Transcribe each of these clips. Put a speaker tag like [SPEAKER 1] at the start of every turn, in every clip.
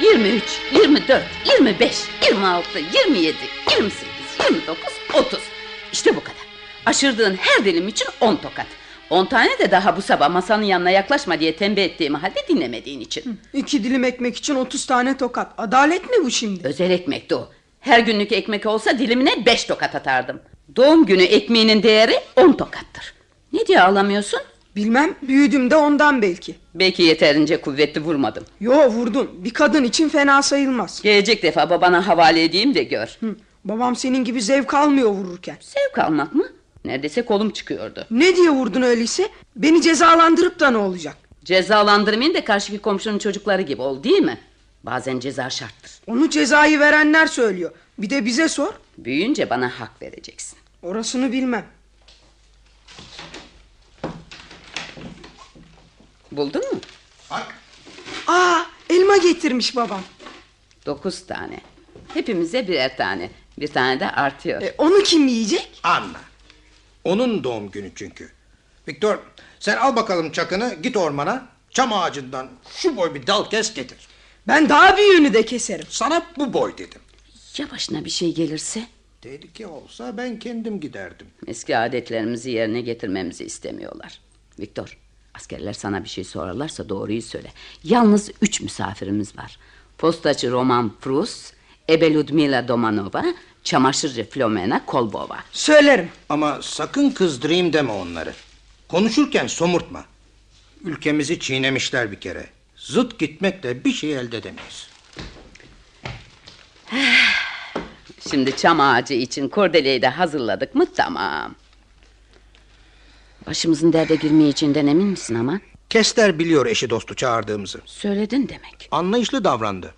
[SPEAKER 1] 23, 24, 25, 26, 27, 28, 29, 30. İşte bu kadar. Aşırdığın her dilim için 10 tokat. 10 tane de daha bu sabah masanın yanına yaklaşma diye tembih ettiğimi halde dinlemediğin için.
[SPEAKER 2] İki dilim ekmek için 30 tane tokat. Adalet mi bu şimdi?
[SPEAKER 1] Özel ekmekti o. Her günlük ekmek olsa dilimine beş tokat atardım. Doğum günü ekmeğinin değeri on tokattır. Ne diye ağlamıyorsun?
[SPEAKER 2] Bilmem büyüdüm de ondan belki.
[SPEAKER 1] Belki yeterince kuvvetli vurmadım.
[SPEAKER 2] Yo vurdun. Bir kadın için fena sayılmaz.
[SPEAKER 1] Gelecek defa babana havale edeyim de gör.
[SPEAKER 2] Hı, Babam senin gibi zevk almıyor vururken.
[SPEAKER 1] Zevk almak mı? Neredeyse kolum çıkıyordu.
[SPEAKER 2] Ne diye vurdun öyleyse? Beni cezalandırıp da ne olacak?
[SPEAKER 1] Cezalandırmayın da karşıki komşunun çocukları gibi ol değil mi? Bazen ceza şarttır.
[SPEAKER 2] Onu cezayı verenler söylüyor. Bir de bize sor.
[SPEAKER 1] Büyüyünce bana hak vereceksin.
[SPEAKER 2] Orasını bilmem.
[SPEAKER 1] Buldun mu?
[SPEAKER 3] Bak
[SPEAKER 2] Aa elma getirmiş babam.
[SPEAKER 1] Dokuz tane. Hepimize birer tane. Bir tane de artıyor.
[SPEAKER 2] E, onu kim yiyecek?
[SPEAKER 3] Anna. Onun doğum günü çünkü. Viktor sen al bakalım çakını git ormana. Çam ağacından şu boy bir dal kes getir.
[SPEAKER 2] Ben daha büyüğünü de keserim.
[SPEAKER 3] Sana bu boy dedim.
[SPEAKER 1] Ya başına bir şey gelirse?
[SPEAKER 3] Tehlike olsa ben kendim giderdim.
[SPEAKER 1] Eski adetlerimizi yerine getirmemizi istemiyorlar. Viktor, askerler sana bir şey sorarlarsa doğruyu söyle. Yalnız üç misafirimiz var. Postacı Roman Prus, Ebe Ludmila Domanova, çamaşırcı Flomena Kolbova.
[SPEAKER 2] Söylerim.
[SPEAKER 3] Ama sakın kızdırayım deme onları. Konuşurken somurtma. Ülkemizi çiğnemişler bir kere. Zıt gitmekle bir şey elde edemeyiz.
[SPEAKER 1] Şimdi çam ağacı için kurdeleyi de hazırladık mı tamam. Başımızın derde girmeyeceğinden emin misin ama?
[SPEAKER 3] Kester biliyor eşi dostu çağırdığımızı.
[SPEAKER 1] Söyledin demek.
[SPEAKER 3] Anlayışlı davrandı.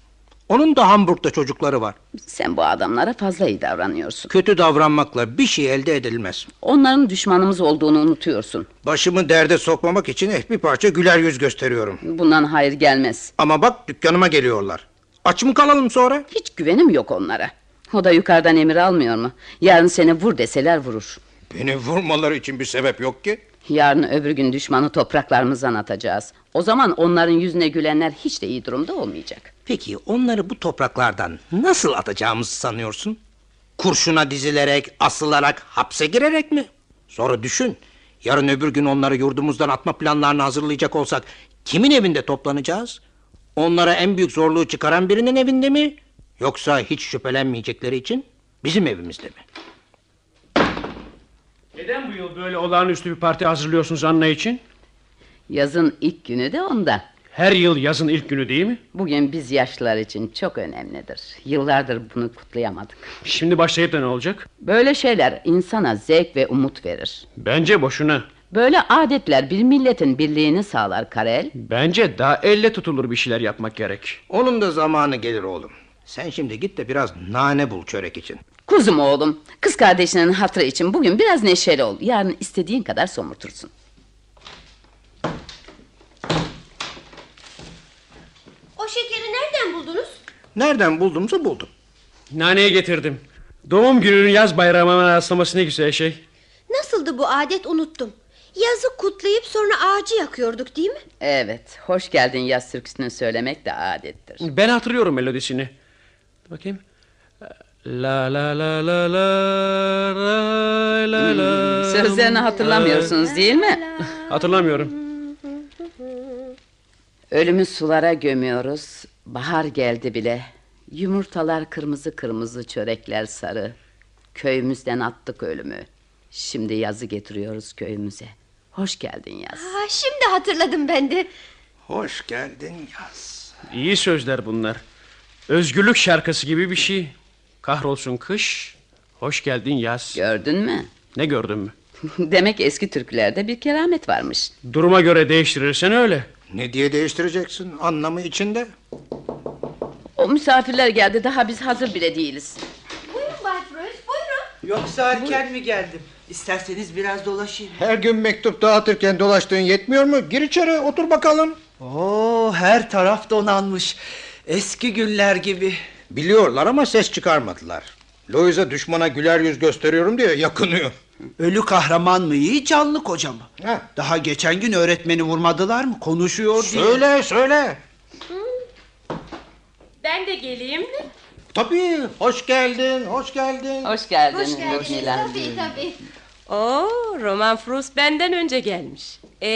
[SPEAKER 3] Onun da Hamburg'da çocukları var.
[SPEAKER 1] Sen bu adamlara fazla iyi davranıyorsun.
[SPEAKER 3] Kötü davranmakla bir şey elde edilmez.
[SPEAKER 1] Onların düşmanımız olduğunu unutuyorsun.
[SPEAKER 3] Başımı derde sokmamak için eh bir parça güler yüz gösteriyorum.
[SPEAKER 1] Bundan hayır gelmez.
[SPEAKER 3] Ama bak dükkanıma geliyorlar. Aç mı kalalım sonra?
[SPEAKER 1] Hiç güvenim yok onlara. O da yukarıdan emir almıyor mu? Yarın seni vur deseler vurur.
[SPEAKER 3] Beni vurmaları için bir sebep yok ki.
[SPEAKER 1] Yarın öbür gün düşmanı topraklarımızdan atacağız. O zaman onların yüzüne gülenler hiç de iyi durumda olmayacak.
[SPEAKER 3] Peki onları bu topraklardan nasıl atacağımızı sanıyorsun? Kurşuna dizilerek, asılarak, hapse girerek mi? Sonra düşün. Yarın öbür gün onları yurdumuzdan atma planlarını hazırlayacak olsak kimin evinde toplanacağız? Onlara en büyük zorluğu çıkaran birinin evinde mi? Yoksa hiç şüphelenmeyecekleri için bizim evimizde mi?
[SPEAKER 4] Neden bu yıl böyle olağanüstü bir parti hazırlıyorsunuz Anna için?
[SPEAKER 1] Yazın ilk günü de onda.
[SPEAKER 4] Her yıl yazın ilk günü değil mi?
[SPEAKER 1] Bugün biz yaşlılar için çok önemlidir. Yıllardır bunu kutlayamadık.
[SPEAKER 4] Şimdi başlayıp da ne olacak?
[SPEAKER 1] Böyle şeyler insana zevk ve umut verir.
[SPEAKER 4] Bence boşuna.
[SPEAKER 1] Böyle adetler bir milletin birliğini sağlar Karel.
[SPEAKER 4] Bence daha elle tutulur bir şeyler yapmak gerek.
[SPEAKER 3] Onun da zamanı gelir oğlum. Sen şimdi git de biraz nane bul çörek için.
[SPEAKER 1] Kuzum oğlum, kız kardeşinin hatırı için bugün biraz neşeli ol. Yarın istediğin kadar somurtursun.
[SPEAKER 5] O şekeri nereden buldunuz?
[SPEAKER 3] Nereden buldumsa buldum.
[SPEAKER 4] Naneye getirdim. Doğum gününün yaz bayramına rastlaması ne güzel şey.
[SPEAKER 5] Nasıldı bu adet unuttum. Yazı kutlayıp sonra ağacı yakıyorduk değil mi?
[SPEAKER 1] Ee, Evet, hoş geldin yaz türküsünü söylemek de adettir.
[SPEAKER 4] Ben hatırlıyorum melodisini. Dur Bakayım. La la la la la la la la.
[SPEAKER 1] Sözlerini hatırlamıyorsunuz değil mi?
[SPEAKER 4] Hatırlamıyorum.
[SPEAKER 1] Ölümü sulara gömüyoruz, bahar geldi bile. Yumurtalar kırmızı kırmızı, çörekler sarı. Köyümüzden attık ölümü. Şimdi yazı getiriyoruz köyümüze. Hoş geldin yaz.
[SPEAKER 5] Ha, şimdi hatırladım ben de.
[SPEAKER 3] Hoş geldin yaz.
[SPEAKER 4] İyi sözler bunlar. Özgürlük şarkısı gibi bir şey. Kahrolsun kış. Hoş geldin yaz.
[SPEAKER 1] Gördün mü?
[SPEAKER 4] Ne gördün mü?
[SPEAKER 1] Demek eski türkülerde bir keramet varmış.
[SPEAKER 4] Duruma göre değiştirirsen öyle.
[SPEAKER 3] Ne diye değiştireceksin anlamı içinde?
[SPEAKER 1] O misafirler geldi, daha biz hazır bile değiliz.
[SPEAKER 5] Buyurun Bay Freud, buyurun.
[SPEAKER 6] Yoksa erken mi geldim? İsterseniz biraz dolaşayım.
[SPEAKER 3] Her gün mektup dağıtırken dolaştığın yetmiyor mu? Gir içeri otur bakalım.
[SPEAKER 6] Oo, her taraf donanmış. Eski günler gibi.
[SPEAKER 3] Biliyorlar ama ses çıkarmadılar. Louis'e düşmana güler yüz gösteriyorum diye yakınıyor.
[SPEAKER 6] Ölü kahraman mı iyi, canlı koca mı?
[SPEAKER 3] Heh.
[SPEAKER 6] Daha geçen gün öğretmeni vurmadılar mı? Konuşuyor diye.
[SPEAKER 3] Söyle söyle.
[SPEAKER 7] Ben de geleyim mi?
[SPEAKER 3] Tabii, hoş geldin, hoş geldin.
[SPEAKER 1] Hoş geldiniz.
[SPEAKER 5] Hoş geldiniz.
[SPEAKER 1] Nilay.
[SPEAKER 5] Tabii tabii.
[SPEAKER 7] Oo, Roman Frus benden önce gelmiş. Ee,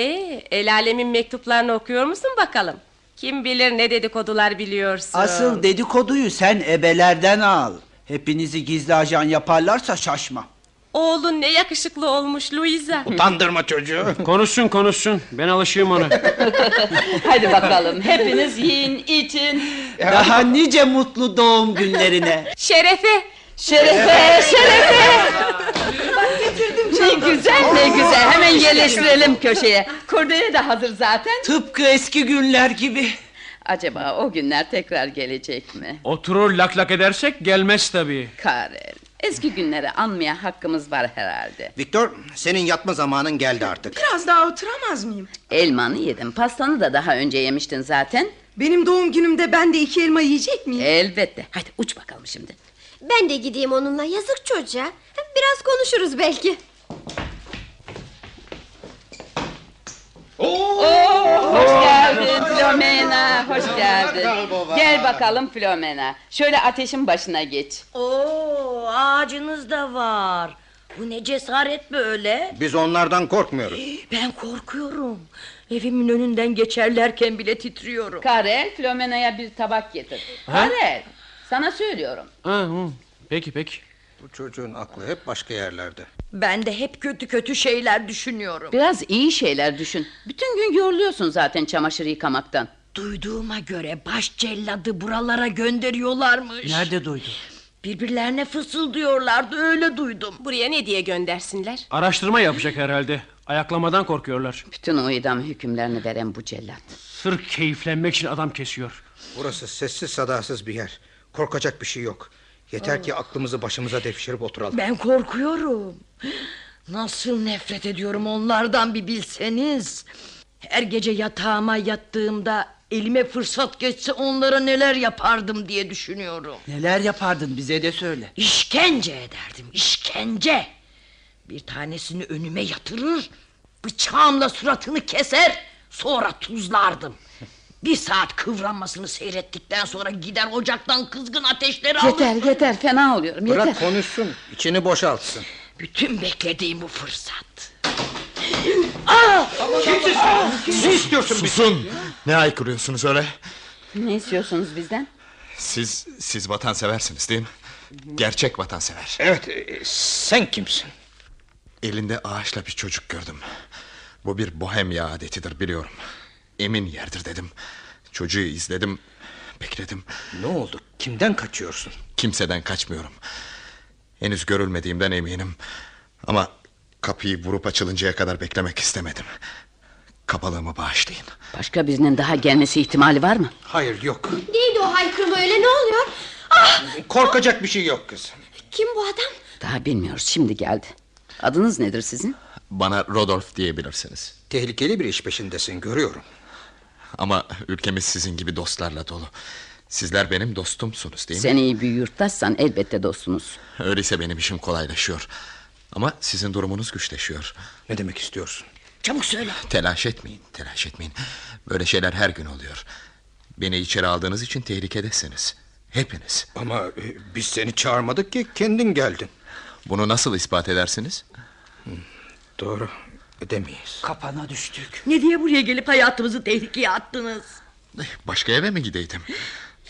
[SPEAKER 7] el alemin mektuplarını okuyor musun bakalım? Kim bilir ne dedikodular biliyorsun.
[SPEAKER 6] Asıl dedikoduyu sen ebelerden al. Hepinizi gizli ajan yaparlarsa şaşma.
[SPEAKER 7] Oğlun ne yakışıklı olmuş Louisa.
[SPEAKER 3] Utandırma çocuğu.
[SPEAKER 4] Konuşsun konuşsun. Ben alışığım ona.
[SPEAKER 1] Hadi bakalım hepiniz yiyin için.
[SPEAKER 6] Daha nice mutlu doğum günlerine.
[SPEAKER 7] Şerefe.
[SPEAKER 1] Şerefe şerefe. ne güzel ne güzel hemen yerleştirelim köşeye. Kurdele de hazır zaten.
[SPEAKER 6] Tıpkı eski günler gibi.
[SPEAKER 1] Acaba o günler tekrar gelecek mi?
[SPEAKER 4] Oturur laklak edersek gelmez tabii.
[SPEAKER 1] Karel eski günleri anmaya hakkımız var herhalde.
[SPEAKER 3] Viktor, senin yatma zamanın geldi artık.
[SPEAKER 8] Biraz daha oturamaz mıyım?
[SPEAKER 1] Elmanı yedim pastanı da daha önce yemiştin zaten.
[SPEAKER 8] Benim doğum günümde ben de iki elma yiyecek miyim?
[SPEAKER 1] Elbette. Hadi uç bakalım şimdi.
[SPEAKER 5] Ben de gideyim onunla yazık çocuğa. Biraz konuşuruz belki.
[SPEAKER 1] Hoş geldin Flomena, hoş geldin. Gel bakalım Flomena. Şöyle ateşin başına geç.
[SPEAKER 9] Oo, ağacınız da var. Bu ne cesaret böyle?
[SPEAKER 3] Biz onlardan korkmuyoruz.
[SPEAKER 9] Ben korkuyorum. Evimin önünden geçerlerken bile titriyorum.
[SPEAKER 1] Karel, Flomena'ya bir tabak getir. Karel, sana söylüyorum.
[SPEAKER 4] Ha, hı. Peki peki.
[SPEAKER 3] Bu çocuğun aklı hep başka yerlerde.
[SPEAKER 9] Ben de hep kötü kötü şeyler düşünüyorum.
[SPEAKER 1] Biraz iyi şeyler düşün. Bütün gün yoruluyorsun zaten çamaşır yıkamaktan.
[SPEAKER 9] Duyduğuma göre baş celladı buralara gönderiyorlarmış.
[SPEAKER 6] Nerede duydun?
[SPEAKER 9] Birbirlerine fısıldıyorlardı öyle duydum.
[SPEAKER 7] Buraya ne diye göndersinler?
[SPEAKER 4] Araştırma yapacak herhalde. Ayaklamadan korkuyorlar.
[SPEAKER 1] Bütün o idam hükümlerini veren bu cellat.
[SPEAKER 4] Sırf keyiflenmek için adam kesiyor.
[SPEAKER 3] Burası sessiz sadasız bir yer. Korkacak bir şey yok. Yeter ki aklımızı başımıza devşirip oturalım.
[SPEAKER 9] Ben korkuyorum. Nasıl nefret ediyorum onlardan bir bilseniz. Her gece yatağıma yattığımda elime fırsat geçse onlara neler yapardım diye düşünüyorum.
[SPEAKER 6] Neler yapardın bize de söyle.
[SPEAKER 9] İşkence ederdim, işkence. Bir tanesini önüme yatırır, bıçağımla suratını keser, sonra tuzlardım. Bir saat kıvranmasını seyrettikten sonra gider ocaktan kızgın ateşleri alır.
[SPEAKER 1] Yeter yeter fena oluyorum yeter.
[SPEAKER 3] Bırak konuşsun, içini boşaltsın.
[SPEAKER 9] Bütün beklediğim bu fırsat.
[SPEAKER 3] Ne istiyorsun
[SPEAKER 10] Susun! Ne haykırıyorsunuz öyle?
[SPEAKER 1] Ne istiyorsunuz bizden?
[SPEAKER 10] Siz, siz vatanseversiniz değil mi? Gerçek vatansever.
[SPEAKER 3] Evet, e, sen kimsin?
[SPEAKER 10] Elinde ağaçla bir çocuk gördüm. Bu bir bohemya adetidir biliyorum. Emin yerdir dedim. Çocuğu izledim, bekledim.
[SPEAKER 3] Ne oldu? Kimden kaçıyorsun?
[SPEAKER 10] Kimseden kaçmıyorum. Henüz görülmediğimden eminim. Ama kapıyı vurup açılıncaya kadar beklemek istemedim. Kabalığımı bağışlayın.
[SPEAKER 1] Başka birinin daha gelmesi ihtimali var mı?
[SPEAKER 3] Hayır, yok.
[SPEAKER 5] Neydi o haykırma öyle ne oluyor? Ah
[SPEAKER 3] Korkacak bir şey yok kız.
[SPEAKER 5] kim bu adam?
[SPEAKER 1] Daha bilmiyoruz şimdi geldi. Adınız nedir sizin?
[SPEAKER 10] Bana Rodolf diyebilirsiniz.
[SPEAKER 3] Tehlikeli bir iş peşindesin, görüyorum.
[SPEAKER 10] Ama ülkemiz sizin gibi dostlarla dolu. Sizler benim dostumsunuz değil mi?
[SPEAKER 1] Sen iyi bir yurttaşsan elbette dostunuz.
[SPEAKER 10] Öyleyse benim işim kolaylaşıyor. Ama sizin durumunuz güçleşiyor.
[SPEAKER 3] Ne demek istiyorsun?
[SPEAKER 9] Çabuk söyle.
[SPEAKER 10] Telaş etmeyin, telaş etmeyin. Böyle şeyler her gün oluyor. Beni içeri aldığınız için tehlikedesiniz. Hepiniz.
[SPEAKER 3] Ama e, biz seni çağırmadık ki, kendin geldin.
[SPEAKER 10] Bunu nasıl ispat edersiniz?
[SPEAKER 3] Doğru, ödemeyiz.
[SPEAKER 6] Kapana düştük.
[SPEAKER 9] Ne diye buraya gelip hayatımızı tehlikeye attınız?
[SPEAKER 10] Başka eve mi gideydim?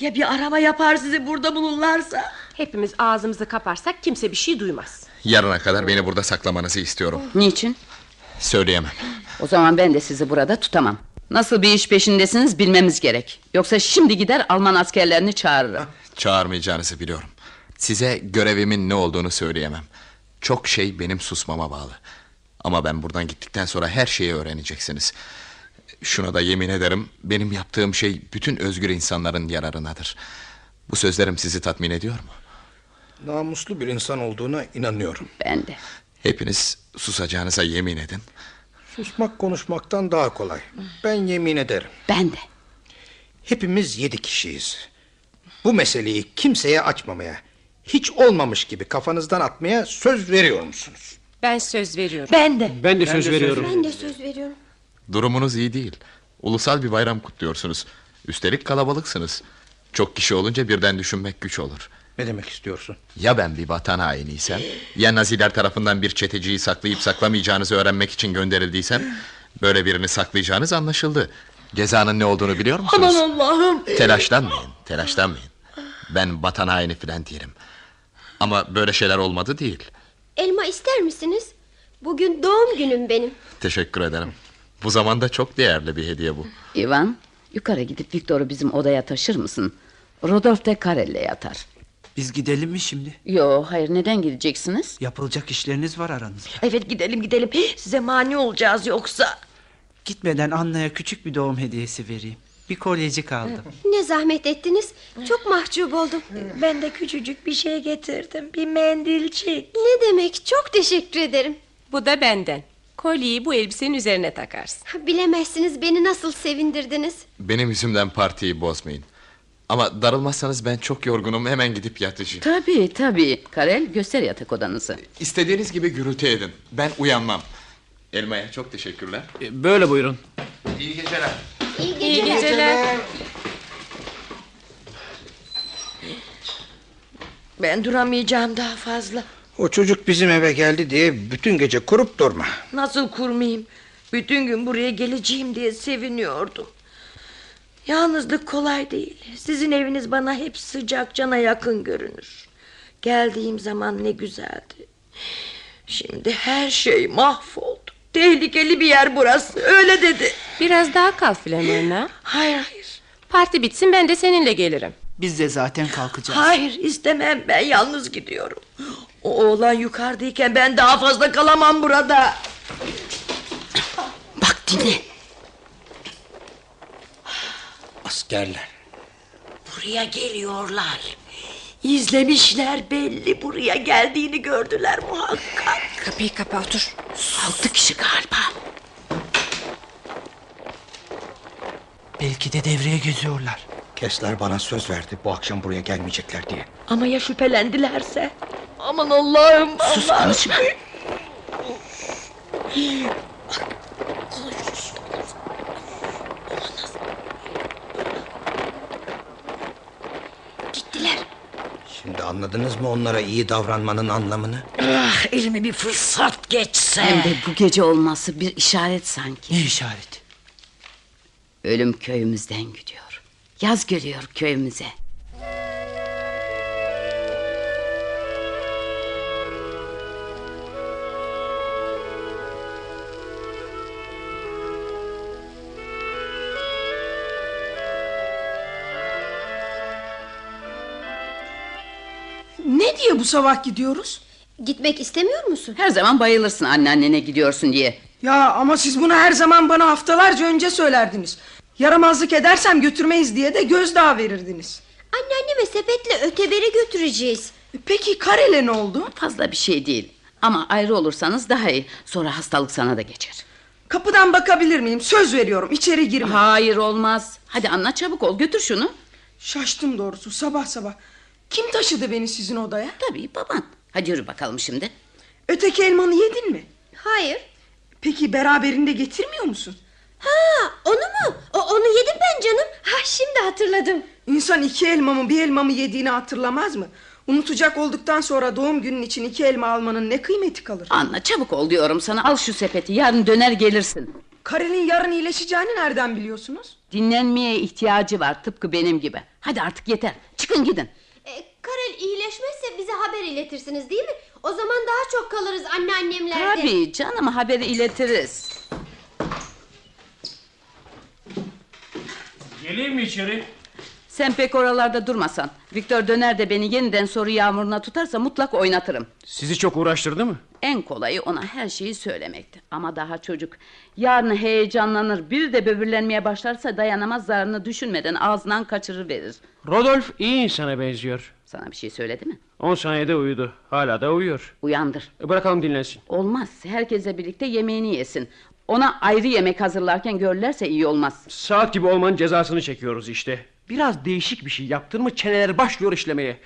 [SPEAKER 9] Ya bir arama yapar sizi burada bulurlarsa?
[SPEAKER 7] Hepimiz ağzımızı kaparsak kimse bir şey duymaz.
[SPEAKER 10] Yarına kadar beni burada saklamanızı istiyorum.
[SPEAKER 1] Niçin?
[SPEAKER 10] Söyleyemem.
[SPEAKER 1] O zaman ben de sizi burada tutamam. Nasıl bir iş peşindesiniz bilmemiz gerek. Yoksa şimdi gider Alman askerlerini çağırırım.
[SPEAKER 10] Ah. Çağırmayacağınızı biliyorum. Size görevimin ne olduğunu söyleyemem. Çok şey benim susmama bağlı. Ama ben buradan gittikten sonra her şeyi öğreneceksiniz. Şuna da yemin ederim benim yaptığım şey bütün özgür insanların yararınadır. Bu sözlerim sizi tatmin ediyor mu?
[SPEAKER 3] Namuslu bir insan olduğuna inanıyorum.
[SPEAKER 1] Ben de.
[SPEAKER 10] Hepiniz susacağınıza yemin edin.
[SPEAKER 3] Susmak konuşmaktan daha kolay. Ben yemin ederim.
[SPEAKER 1] Ben de.
[SPEAKER 3] Hepimiz yedi kişiyiz. Bu meseleyi kimseye açmamaya, hiç olmamış gibi kafanızdan atmaya söz veriyor musunuz?
[SPEAKER 7] Ben söz veriyorum.
[SPEAKER 9] Ben de.
[SPEAKER 4] Ben de söz veriyorum.
[SPEAKER 5] Ben de söz veriyorum.
[SPEAKER 10] Durumunuz iyi değil. Ulusal bir bayram kutluyorsunuz. Üstelik kalabalıksınız. Çok kişi olunca birden düşünmek güç olur.
[SPEAKER 3] Ne demek istiyorsun?
[SPEAKER 10] Ya ben bir vatan hainiysem, ya Naziler tarafından bir çeteciyi saklayıp saklamayacağınızı öğrenmek için gönderildiysem, böyle birini saklayacağınız anlaşıldı. Cezanın ne olduğunu biliyor musunuz?
[SPEAKER 9] Aman Allah'ım.
[SPEAKER 10] Telaşlanmayın, telaşlanmayın. Ben vatan haini filan değilim. Ama böyle şeyler olmadı değil.
[SPEAKER 5] Elma ister misiniz? Bugün doğum günüm benim.
[SPEAKER 10] Teşekkür ederim. Bu zamanda çok değerli bir hediye bu.
[SPEAKER 1] İvan yukarı gidip Viktor'u bizim odaya taşır mısın? Rodolf de Karel'le yatar.
[SPEAKER 6] Biz gidelim mi şimdi?
[SPEAKER 1] Yo hayır neden gideceksiniz?
[SPEAKER 6] Yapılacak işleriniz var aranızda.
[SPEAKER 9] Evet gidelim gidelim. Size mani olacağız yoksa.
[SPEAKER 6] Gitmeden Anna'ya küçük bir doğum hediyesi vereyim. Bir kolyecik aldım.
[SPEAKER 5] Ne zahmet ettiniz? Çok mahcup oldum.
[SPEAKER 11] Ben de küçücük bir şey getirdim. Bir mendilcik.
[SPEAKER 5] Ne demek? Çok teşekkür ederim.
[SPEAKER 7] Bu da benden. Kolyeyi bu elbisenin üzerine takarsın.
[SPEAKER 5] Bilemezsiniz beni nasıl sevindirdiniz.
[SPEAKER 10] Benim yüzümden partiyi bozmayın. Ama darılmazsanız ben çok yorgunum hemen gidip yatacağım.
[SPEAKER 1] Tabii tabii. Karel göster yatak odanızı.
[SPEAKER 10] İstediğiniz gibi gürültü edin. Ben uyanmam. Elma'ya çok teşekkürler.
[SPEAKER 4] E, Böyle buyurun.
[SPEAKER 10] İyi geceler.
[SPEAKER 5] İyi geceler.
[SPEAKER 7] İyi geceler.
[SPEAKER 9] Ben duramayacağım daha fazla.
[SPEAKER 3] O çocuk bizim eve geldi diye bütün gece kurup durma.
[SPEAKER 9] Nasıl kurmayayım? Bütün gün buraya geleceğim diye seviniyordum. Yalnızlık kolay değil. Sizin eviniz bana hep sıcak cana yakın görünür. Geldiğim zaman ne güzeldi. Şimdi her şey mahvoldu. Tehlikeli bir yer burası. Öyle dedi.
[SPEAKER 7] Biraz daha kal Filamena.
[SPEAKER 9] Hayır hayır.
[SPEAKER 7] Parti bitsin ben de seninle gelirim.
[SPEAKER 6] Biz de zaten kalkacağız.
[SPEAKER 9] Hayır istemem ben yalnız gidiyorum. O oğlan yukarıdayken ben daha fazla kalamam burada. Bak dinle.
[SPEAKER 3] Askerler.
[SPEAKER 9] Buraya geliyorlar. İzlemişler belli buraya geldiğini gördüler muhakkak.
[SPEAKER 11] Kapıyı kapa otur.
[SPEAKER 9] Altı kişi galiba.
[SPEAKER 6] Belki de devreye geziyorlar.
[SPEAKER 3] Kesler bana söz verdi bu akşam buraya gelmeyecekler diye.
[SPEAKER 9] Ama ya şüphelendilerse? Aman Allah'ım Sus konuşma.
[SPEAKER 3] Şimdi anladınız mı onlara iyi davranmanın anlamını?
[SPEAKER 9] Ah, elime bir fırsat geçse.
[SPEAKER 1] Hem de bu gece olması bir işaret sanki.
[SPEAKER 6] Ne işareti?
[SPEAKER 1] Ölüm köyümüzden gidiyor. Yaz geliyor köyümüze.
[SPEAKER 12] Ne diye bu sabah gidiyoruz?
[SPEAKER 5] Gitmek istemiyor musun?
[SPEAKER 1] Her zaman bayılırsın anneannene gidiyorsun diye.
[SPEAKER 12] Ya ama siz bunu her zaman bana haftalarca önce söylerdiniz. Yaramazlık edersem götürmeyiz diye de gözdağı verirdiniz.
[SPEAKER 5] Anneanneme sepetle öteberi götüreceğiz.
[SPEAKER 12] E Peki Karel'e ne oldu?
[SPEAKER 1] Fazla bir şey değil. Ama ayrı olursanız daha iyi. Sonra hastalık sana da geçer.
[SPEAKER 12] Kapıdan bakabilir miyim? Söz veriyorum içeri girme.
[SPEAKER 1] Hayır olmaz. Hadi anla çabuk ol götür şunu.
[SPEAKER 12] Şaştım doğrusu sabah sabah. Kim taşıdı beni sizin odaya?
[SPEAKER 1] Tabii baban. Hadi yürü bakalım şimdi.
[SPEAKER 12] Öteki elmanı yedin mi?
[SPEAKER 5] Hayır.
[SPEAKER 12] Peki beraberinde getirmiyor musun?
[SPEAKER 5] Ha, onu mu? O, onu yedim ben canım. Ha, şimdi hatırladım.
[SPEAKER 12] İnsan iki elmamı bir elmamı yediğini hatırlamaz mı? Unutacak olduktan sonra doğum günün için iki elma almanın ne kıymeti kalır?
[SPEAKER 1] Anla çabuk ol diyorum sana. Al şu sepeti yarın döner gelirsin.
[SPEAKER 12] Karel'in yarın iyileşeceğini nereden biliyorsunuz?
[SPEAKER 1] Dinlenmeye ihtiyacı var tıpkı benim gibi. Hadi artık yeter. Çıkın gidin.
[SPEAKER 5] E, Karel iyileşmezse bize haber iletirsiniz değil mi? O zaman daha çok kalırız anneannemlerde.
[SPEAKER 1] Tabii canım haberi iletiriz.
[SPEAKER 4] Geleyim mi içeri?
[SPEAKER 1] Sen pek oralarda durmasan. Viktor döner de beni yeniden soru yağmuruna tutarsa mutlak oynatırım.
[SPEAKER 4] Sizi çok uğraştırdı mı?
[SPEAKER 1] En kolayı ona her şeyi söylemekti. Ama daha çocuk yarın heyecanlanır bir de böbürlenmeye başlarsa dayanamaz zararını düşünmeden ağzından kaçırır verir.
[SPEAKER 4] Rodolf iyi insana benziyor.
[SPEAKER 1] Sana bir şey söyledi mi?
[SPEAKER 4] 10 saniyede uyudu. Hala da uyuyor.
[SPEAKER 1] Uyandır.
[SPEAKER 4] E, Bırakalım dinlensin.
[SPEAKER 1] Olmaz. Herkese birlikte yemeğini yesin. Ona ayrı yemek hazırlarken görürlerse iyi olmaz.
[SPEAKER 4] Saat gibi olmanın cezasını çekiyoruz işte. Biraz değişik bir şey yaptın mı çeneler başlıyor işlemeye.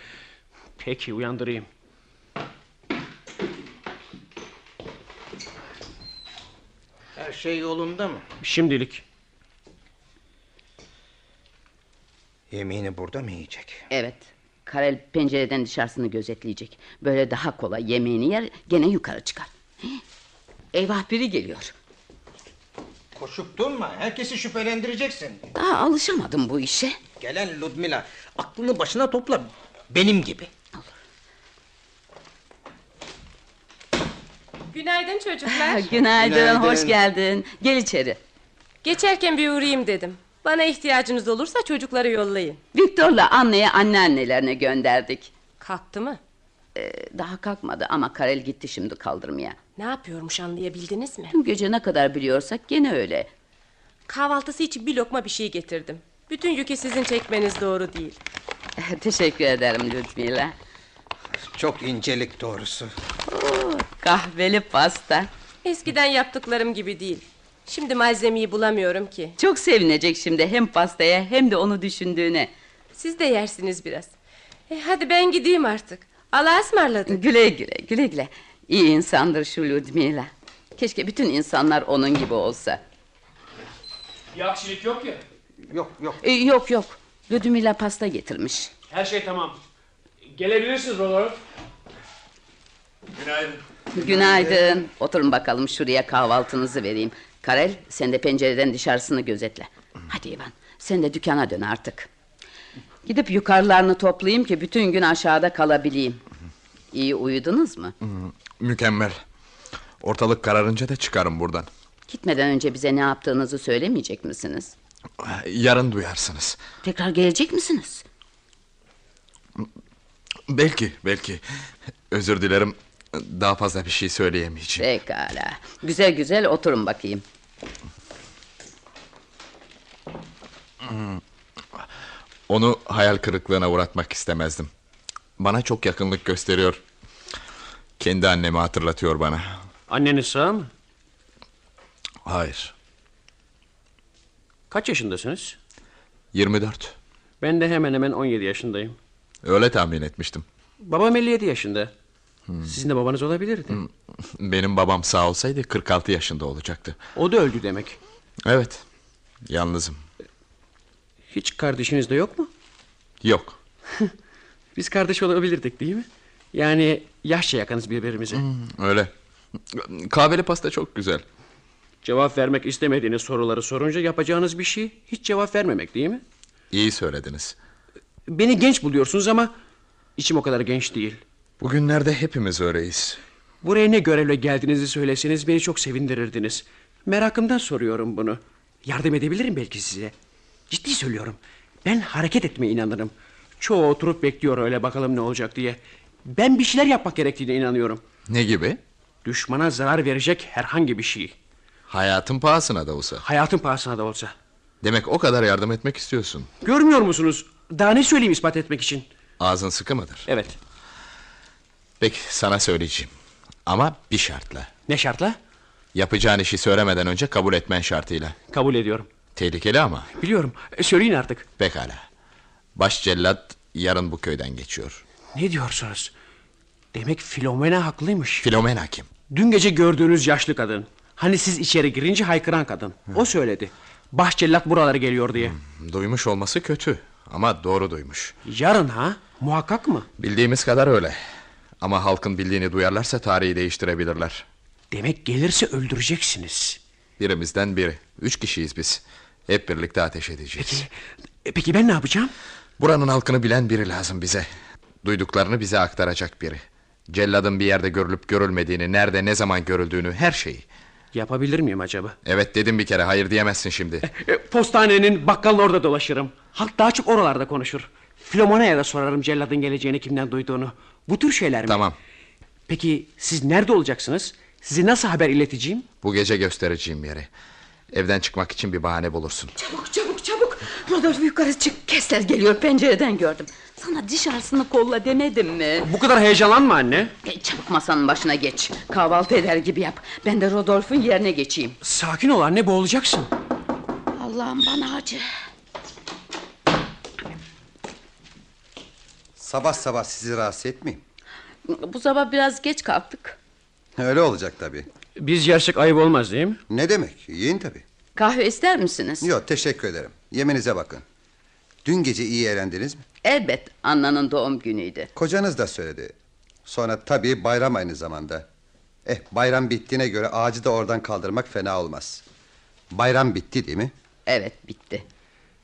[SPEAKER 4] Peki uyandırayım.
[SPEAKER 3] Her şey yolunda mı?
[SPEAKER 4] Şimdilik.
[SPEAKER 13] Yemeğini burada mı yiyecek?
[SPEAKER 1] Evet. Karel pencereden dışarısını gözetleyecek. Böyle daha kolay yemeğini yer gene yukarı çıkar. Hii. Eyvah biri geliyor.
[SPEAKER 13] Koşup durma. Herkesi şüphelendireceksin.
[SPEAKER 1] Daha alışamadım bu işe.
[SPEAKER 13] Gelen Ludmila. Aklını başına topla. Benim gibi.
[SPEAKER 7] Günaydın çocuklar.
[SPEAKER 1] Günaydın,
[SPEAKER 13] Günaydın.
[SPEAKER 1] hoş geldin. Gel içeri.
[SPEAKER 7] Geçerken bir uğrayayım dedim. Bana ihtiyacınız olursa çocukları yollayın.
[SPEAKER 1] Viktor'la anneye anneannelerine gönderdik. Ee,
[SPEAKER 7] Kalktı mı?
[SPEAKER 1] daha kalkmadı ama Karel gitti şimdi kaldırmaya.
[SPEAKER 7] Ne yapıyormuş anlayabildiniz mi?
[SPEAKER 1] Tüm gece ne kadar biliyorsak gene öyle.
[SPEAKER 7] Kahvaltısı için bir lokma bir şey getirdim. Bütün yükü sizin çekmeniz doğru değil.
[SPEAKER 1] Teşekkür ederim Ludmila.
[SPEAKER 13] Çok incelik doğrusu.
[SPEAKER 1] Kahveli pasta.
[SPEAKER 7] Eskiden yaptıklarım gibi değil. Şimdi malzemeyi bulamıyorum ki.
[SPEAKER 1] Çok sevinecek şimdi hem pastaya hem de onu düşündüğüne.
[SPEAKER 7] Siz de yersiniz biraz. E, hadi ben gideyim artık. Allah'a ısmarladık.
[SPEAKER 1] Güle güle güle güle. İyi insandır şu Ludmila. Keşke bütün insanlar onun gibi olsa.
[SPEAKER 14] Bir aksilik yok ya.
[SPEAKER 13] Yok yok.
[SPEAKER 1] E, yok yok. Ludmila pasta getirmiş.
[SPEAKER 14] Her şey tamam. Gelebilirsiniz Rolor.
[SPEAKER 10] Günaydın.
[SPEAKER 1] Günaydın. Oturun bakalım şuraya kahvaltınızı vereyim. Karel sen de pencereden dışarısını gözetle. Hadi İvan sen de dükkana dön artık. Gidip yukarılarını toplayayım ki bütün gün aşağıda kalabileyim. İyi uyudunuz mu?
[SPEAKER 10] Hmm, Mükemmel. Ortalık kararınca da çıkarım buradan.
[SPEAKER 1] Gitmeden önce bize ne yaptığınızı söylemeyecek misiniz?
[SPEAKER 10] Yarın duyarsınız.
[SPEAKER 1] Tekrar gelecek misiniz?
[SPEAKER 10] Belki, belki. Özür dilerim. Daha fazla bir şey söyleyemeyeceğim.
[SPEAKER 1] Pekala. Güzel güzel oturun bakayım.
[SPEAKER 10] Hmm. Onu hayal kırıklığına uğratmak istemezdim. Bana çok yakınlık gösteriyor. Kendi annemi hatırlatıyor bana.
[SPEAKER 4] Anneniz sağ mı?
[SPEAKER 10] Hayır.
[SPEAKER 4] Kaç yaşındasınız?
[SPEAKER 10] 24.
[SPEAKER 4] Ben de hemen hemen 17 yaşındayım.
[SPEAKER 10] Öyle tahmin etmiştim.
[SPEAKER 4] Babam 57 yaşında.
[SPEAKER 10] Hmm.
[SPEAKER 4] Sizin de babanız olabilirdi.
[SPEAKER 10] Benim babam sağ olsaydı 46 yaşında olacaktı.
[SPEAKER 4] O da öldü demek.
[SPEAKER 10] Evet. Yalnızım.
[SPEAKER 4] Hiç kardeşiniz de yok mu?
[SPEAKER 10] Yok.
[SPEAKER 4] Biz kardeş olabilirdik değil mi? Yani yaşça yakınız birbirimize.
[SPEAKER 10] Öyle. Hmm. Kahveli pasta çok güzel.
[SPEAKER 4] Cevap vermek istemediğiniz soruları sorunca yapacağınız bir şey hiç cevap vermemek değil mi?
[SPEAKER 10] İyi söylediniz.
[SPEAKER 4] Beni genç buluyorsunuz ama içim o kadar genç değil.
[SPEAKER 10] Bugünlerde hepimiz öyleyiz.
[SPEAKER 4] Buraya ne görevle geldiğinizi söyleseniz beni çok sevindirirdiniz. Merakımdan soruyorum bunu. Yardım edebilirim belki size. Ciddi söylüyorum. Ben hareket etmeye inanırım. Çoğu oturup bekliyor öyle bakalım ne olacak diye. Ben bir şeyler yapmak gerektiğine inanıyorum.
[SPEAKER 10] Ne gibi?
[SPEAKER 4] Düşmana zarar verecek herhangi bir şey.
[SPEAKER 10] Hayatın pahasına da olsa.
[SPEAKER 4] Hayatın pahasına da olsa.
[SPEAKER 10] Demek o kadar yardım etmek istiyorsun.
[SPEAKER 4] Görmüyor musunuz? Daha ne söyleyeyim ispat etmek için?
[SPEAKER 10] Ağzın sıkı mıdır?
[SPEAKER 4] Evet.
[SPEAKER 10] Peki sana söyleyeceğim. Ama bir şartla.
[SPEAKER 4] Ne şartla?
[SPEAKER 10] Yapacağın işi söylemeden önce kabul etmen şartıyla.
[SPEAKER 4] Kabul ediyorum.
[SPEAKER 10] Tehlikeli ama.
[SPEAKER 4] Biliyorum. E, Söyleyin artık.
[SPEAKER 10] Pekala. Baş cellat yarın bu köyden geçiyor.
[SPEAKER 4] Ne diyorsunuz? Demek Filomena haklıymış.
[SPEAKER 10] Filomena kim?
[SPEAKER 4] Dün gece gördüğünüz yaşlı kadın. Hani siz içeri girince haykıran kadın. O söyledi. Bahçellat buralara geliyor diye.
[SPEAKER 10] Hmm, Duymuş olması kötü ama doğru duymuş.
[SPEAKER 4] Yarın ha? Muhakkak mı?
[SPEAKER 10] Bildiğimiz kadar öyle. Ama halkın bildiğini duyarlarsa tarihi değiştirebilirler.
[SPEAKER 4] Demek gelirse öldüreceksiniz.
[SPEAKER 10] Birimizden biri. Üç kişiyiz biz. Hep birlikte ateş edeceğiz.
[SPEAKER 4] E, peki ben ne yapacağım?
[SPEAKER 10] Buranın halkını bilen biri lazım bize. Duyduklarını bize aktaracak biri. Celladın bir yerde görülüp görülmediğini, nerede ne zaman görüldüğünü, her şeyi.
[SPEAKER 4] Yapabilir miyim acaba?
[SPEAKER 10] Evet dedim bir kere, hayır diyemezsin şimdi.
[SPEAKER 4] E, postanenin bakkalın orada dolaşırım. Halk daha çok oralarda konuşur. Filomona'ya da sorarım celladın geleceğini kimden duyduğunu. Bu tür şeyler mi?
[SPEAKER 10] Tamam.
[SPEAKER 4] Peki siz nerede olacaksınız? Sizi nasıl haber ileteceğim?
[SPEAKER 10] Bu gece göstereceğim yeri. Evden çıkmak için bir bahane bulursun.
[SPEAKER 1] Çabuk çabuk çabuk. Rodolfo yukarı çık. Kesler geliyor pencereden gördüm. Sana dışarısını kolla demedim mi?
[SPEAKER 4] Bu kadar heyecanlanma anne.
[SPEAKER 1] E, çabuk masanın başına geç. Kahvaltı eder gibi yap. Ben de Rodolf'un yerine geçeyim.
[SPEAKER 4] Sakin ol anne boğulacaksın.
[SPEAKER 1] Allah'ım bana acı.
[SPEAKER 15] Sabah sabah sizi rahatsız etmeyeyim.
[SPEAKER 1] Bu sabah biraz geç kalktık.
[SPEAKER 15] Öyle olacak tabii.
[SPEAKER 4] Biz yersek ayıp olmaz değil mi?
[SPEAKER 15] Ne demek? Yiyin tabii.
[SPEAKER 1] Kahve ister misiniz?
[SPEAKER 15] Yok teşekkür ederim. Yemenize bakın. Dün gece iyi eğlendiniz mi?
[SPEAKER 1] Elbet Anna'nın doğum günüydü.
[SPEAKER 15] Kocanız da söyledi. Sonra tabii bayram aynı zamanda. Eh bayram bittiğine göre ağacı da oradan kaldırmak fena olmaz. Bayram bitti değil mi?
[SPEAKER 1] Evet bitti.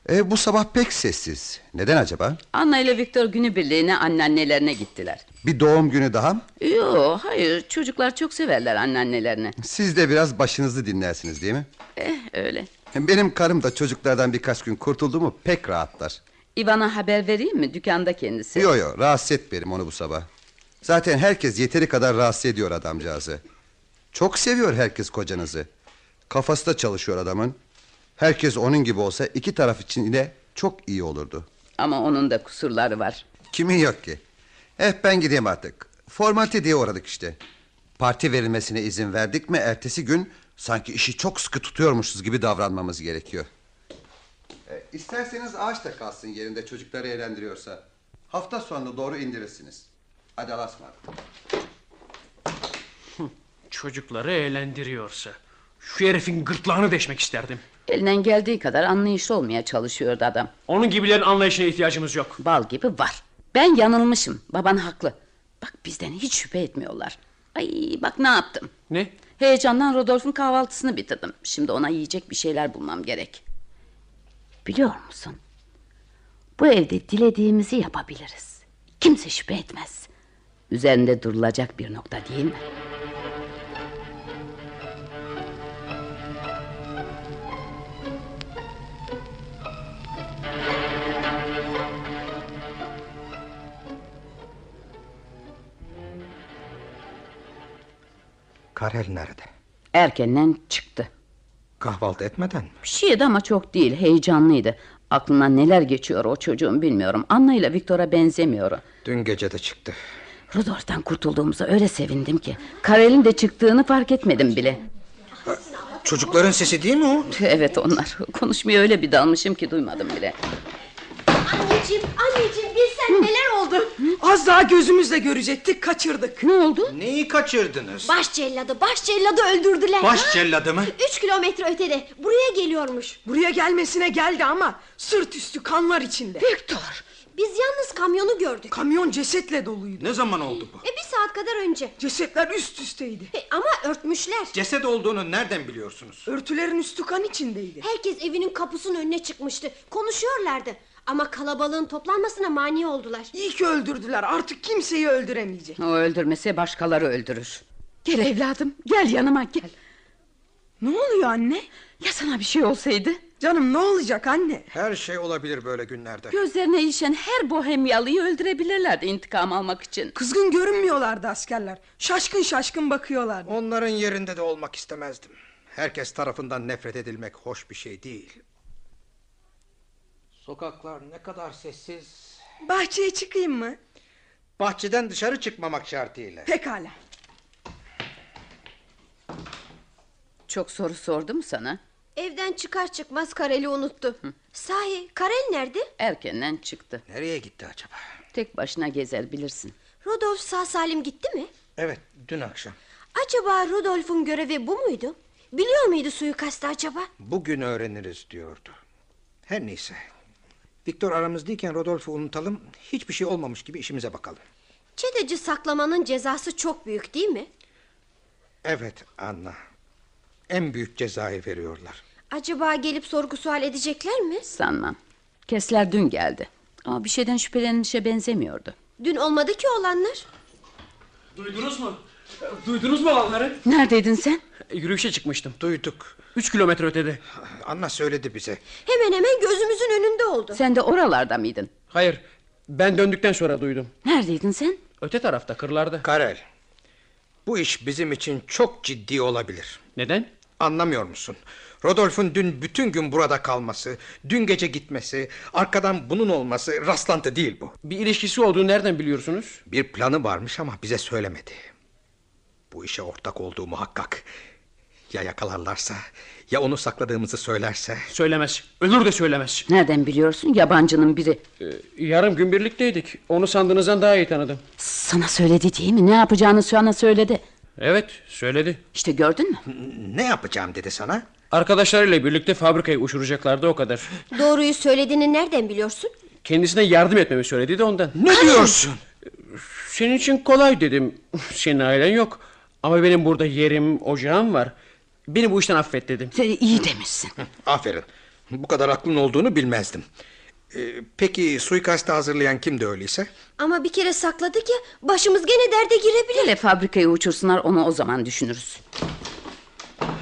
[SPEAKER 15] E, bu sabah pek sessiz. Neden acaba?
[SPEAKER 1] Anna ile Viktor günübirliğine anneannelerine gittiler.
[SPEAKER 15] Bir doğum günü daha mı?
[SPEAKER 1] Yo hayır çocuklar çok severler anneannelerini.
[SPEAKER 15] Siz de biraz başınızı dinlersiniz değil mi?
[SPEAKER 1] Eh öyle.
[SPEAKER 15] Benim karım da çocuklardan birkaç gün kurtuldu mu pek rahatlar.
[SPEAKER 1] İvan'a haber vereyim mi dükkanda kendisi?
[SPEAKER 15] Yo yo rahatsız etmeyelim onu bu sabah. Zaten herkes yeteri kadar rahatsız ediyor adamcağızı. Çok seviyor herkes kocanızı. Kafası da çalışıyor adamın. Herkes onun gibi olsa iki taraf için de çok iyi olurdu.
[SPEAKER 1] Ama onun da kusurları var.
[SPEAKER 15] Kimin yok ki? Eh ben gideyim artık. Formalite diye uğradık işte. Parti verilmesine izin verdik mi ertesi gün sanki işi çok sıkı tutuyormuşuz gibi davranmamız gerekiyor. E, isterseniz ağaç da kalsın yerinde çocukları eğlendiriyorsa. Hafta sonuna doğru indirirsiniz. Hadi Allah'a ısmarladık.
[SPEAKER 4] Çocukları eğlendiriyorsa. Şu herifin gırtlağını deşmek isterdim.
[SPEAKER 1] Elinden geldiği kadar anlayışlı olmaya çalışıyordu adam.
[SPEAKER 4] Onun gibilerin anlayışına ihtiyacımız yok.
[SPEAKER 1] Bal gibi var. Ben yanılmışım. Baban haklı. Bak bizden hiç şüphe etmiyorlar. Ay bak ne yaptım.
[SPEAKER 4] Ne?
[SPEAKER 1] Heyecandan Rodolf'un kahvaltısını bitirdim. Şimdi ona yiyecek bir şeyler bulmam gerek. Biliyor musun? Bu evde dilediğimizi yapabiliriz. Kimse şüphe etmez. Üzerinde durulacak bir nokta değil mi?
[SPEAKER 3] Karel nerede?
[SPEAKER 1] Erkenden çıktı.
[SPEAKER 3] Kahvaltı etmeden mi?
[SPEAKER 1] Bir şeydi ama çok değil. Heyecanlıydı. Aklına neler geçiyor o çocuğun bilmiyorum. Anna ile Viktor'a benzemiyor. o.
[SPEAKER 3] Dün gece de çıktı.
[SPEAKER 1] Rudolf'tan kurtulduğumuza öyle sevindim ki. Karel'in de çıktığını fark etmedim bile.
[SPEAKER 3] Çocukların sesi değil mi o?
[SPEAKER 1] Evet onlar. Konuşmaya öyle bir dalmışım ki duymadım bile.
[SPEAKER 5] Anneciğim, anneciğim bilsen neler oldu.
[SPEAKER 9] Az daha gözümüzle görecektik kaçırdık.
[SPEAKER 1] Ne oldu?
[SPEAKER 3] Neyi kaçırdınız?
[SPEAKER 5] Baş celladı, baş celladı öldürdüler.
[SPEAKER 3] Baş celladı mı?
[SPEAKER 5] Üç kilometre ötede. Buraya geliyormuş.
[SPEAKER 9] Buraya gelmesine geldi ama sırt üstü kanlar içinde.
[SPEAKER 16] Victor.
[SPEAKER 5] Biz yalnız kamyonu gördük.
[SPEAKER 9] Kamyon cesetle doluydu.
[SPEAKER 3] Ne zaman oldu bu?
[SPEAKER 5] E bir saat kadar önce.
[SPEAKER 9] Cesetler üst üsteydi.
[SPEAKER 5] E, ama örtmüşler.
[SPEAKER 3] Ceset olduğunu nereden biliyorsunuz?
[SPEAKER 9] Örtülerin üstü kan içindeydi.
[SPEAKER 5] Herkes evinin kapısının önüne çıkmıştı. Konuşuyorlardı. Ama kalabalığın toplanmasına mani oldular.
[SPEAKER 9] İyi ki öldürdüler. Artık kimseyi öldüremeyecek.
[SPEAKER 1] O öldürmese başkaları öldürür. Gel evladım gel yanıma gel.
[SPEAKER 9] Ne oluyor anne?
[SPEAKER 1] Ya sana bir şey olsaydı?
[SPEAKER 9] Canım ne olacak anne?
[SPEAKER 3] Her şey olabilir böyle günlerde.
[SPEAKER 1] Gözlerine işen her bohemyalıyı öldürebilirlerdi intikam almak için.
[SPEAKER 9] Kızgın görünmüyorlardı askerler. Şaşkın şaşkın bakıyorlardı.
[SPEAKER 3] Onların yerinde de olmak istemezdim. Herkes tarafından nefret edilmek hoş bir şey değil. Sokaklar ne kadar sessiz.
[SPEAKER 9] Bahçeye çıkayım mı?
[SPEAKER 3] Bahçeden dışarı çıkmamak şartıyla.
[SPEAKER 9] Pekala.
[SPEAKER 1] Çok soru sordu mu sana?
[SPEAKER 5] Evden çıkar çıkmaz Karel'i unuttu. Sahi Karel nerede?
[SPEAKER 1] Erkenden çıktı.
[SPEAKER 3] Nereye gitti acaba?
[SPEAKER 1] Tek başına gezer bilirsin.
[SPEAKER 5] Rodolf sağ salim gitti mi?
[SPEAKER 3] Evet, dün akşam.
[SPEAKER 5] Acaba Rodolf'un görevi bu muydu? Biliyor muydu suikastı acaba?
[SPEAKER 3] Bugün öğreniriz diyordu. Her neyse. Viktor aramızdayken Rodolf'u unutalım. Hiçbir şey olmamış gibi işimize bakalım.
[SPEAKER 5] Çeteci saklamanın cezası çok büyük değil mi?
[SPEAKER 3] Evet Anna. En büyük cezayı veriyorlar.
[SPEAKER 5] Acaba gelip sorgu sual edecekler mi?
[SPEAKER 1] Sanmam. Kesler dün geldi. Ama bir şeyden şüphelenişe benzemiyordu.
[SPEAKER 5] Dün olmadı ki olanlar.
[SPEAKER 17] Duydunuz mu? Duydunuz mu olanları?
[SPEAKER 1] Neredeydin sen?
[SPEAKER 4] E, Yürüyüşe çıkmıştım.
[SPEAKER 3] Duyduk.
[SPEAKER 4] Üç kilometre ötede.
[SPEAKER 3] Anna söyledi bize.
[SPEAKER 5] Hemen hemen gözümüzün önünde oldu.
[SPEAKER 1] Sen de oralarda mıydın?
[SPEAKER 4] Hayır. Ben döndükten sonra duydum.
[SPEAKER 1] Neredeydin sen?
[SPEAKER 4] Öte tarafta kırlarda.
[SPEAKER 3] Karel. Bu iş bizim için çok ciddi olabilir.
[SPEAKER 4] Neden?
[SPEAKER 3] Anlamıyor musun? Rodolf'un dün bütün gün burada kalması, dün gece gitmesi, arkadan bunun olması rastlantı değil bu.
[SPEAKER 4] Bir ilişkisi olduğunu nereden biliyorsunuz?
[SPEAKER 3] Bir planı varmış ama bize söylemedi. Bu işe ortak olduğu muhakkak. Ya yakalarlarsa, ya onu sakladığımızı söylerse.
[SPEAKER 4] Söylemez. Ölür de söylemez. E,
[SPEAKER 1] Nereden biliyorsun? Yabancının biri.
[SPEAKER 4] Yarım gün birlikteydik. Onu sandığınızdan daha iyi tanıdım.
[SPEAKER 1] Sana söyledi değil mi? Ne yapacağını sana söyledi.
[SPEAKER 4] Evet, söyledi.
[SPEAKER 1] İşte gördün mü?
[SPEAKER 3] Ne yapacağım dedi sana?
[SPEAKER 4] Arkadaşlarıyla birlikte fabrikayı uçuracaklardı o kadar.
[SPEAKER 5] Doğruyu söylediğini nereden biliyorsun?
[SPEAKER 4] Kendisine yardım etmemi söyledi de ondan.
[SPEAKER 13] Ne diyorsun?
[SPEAKER 4] Senin için kolay dedim. Senin ailen yok. Ama benim burada yerim, ocağım var. Beni bu işten affet dedim.
[SPEAKER 1] iyi demişsin.
[SPEAKER 13] Aferin. Bu kadar aklın olduğunu bilmezdim. Ee, peki suikastı hazırlayan kimdi öyleyse?
[SPEAKER 5] Ama bir kere sakladık ya başımız gene derde girebilir.
[SPEAKER 1] Hele fabrikayı uçursunlar onu o zaman düşünürüz.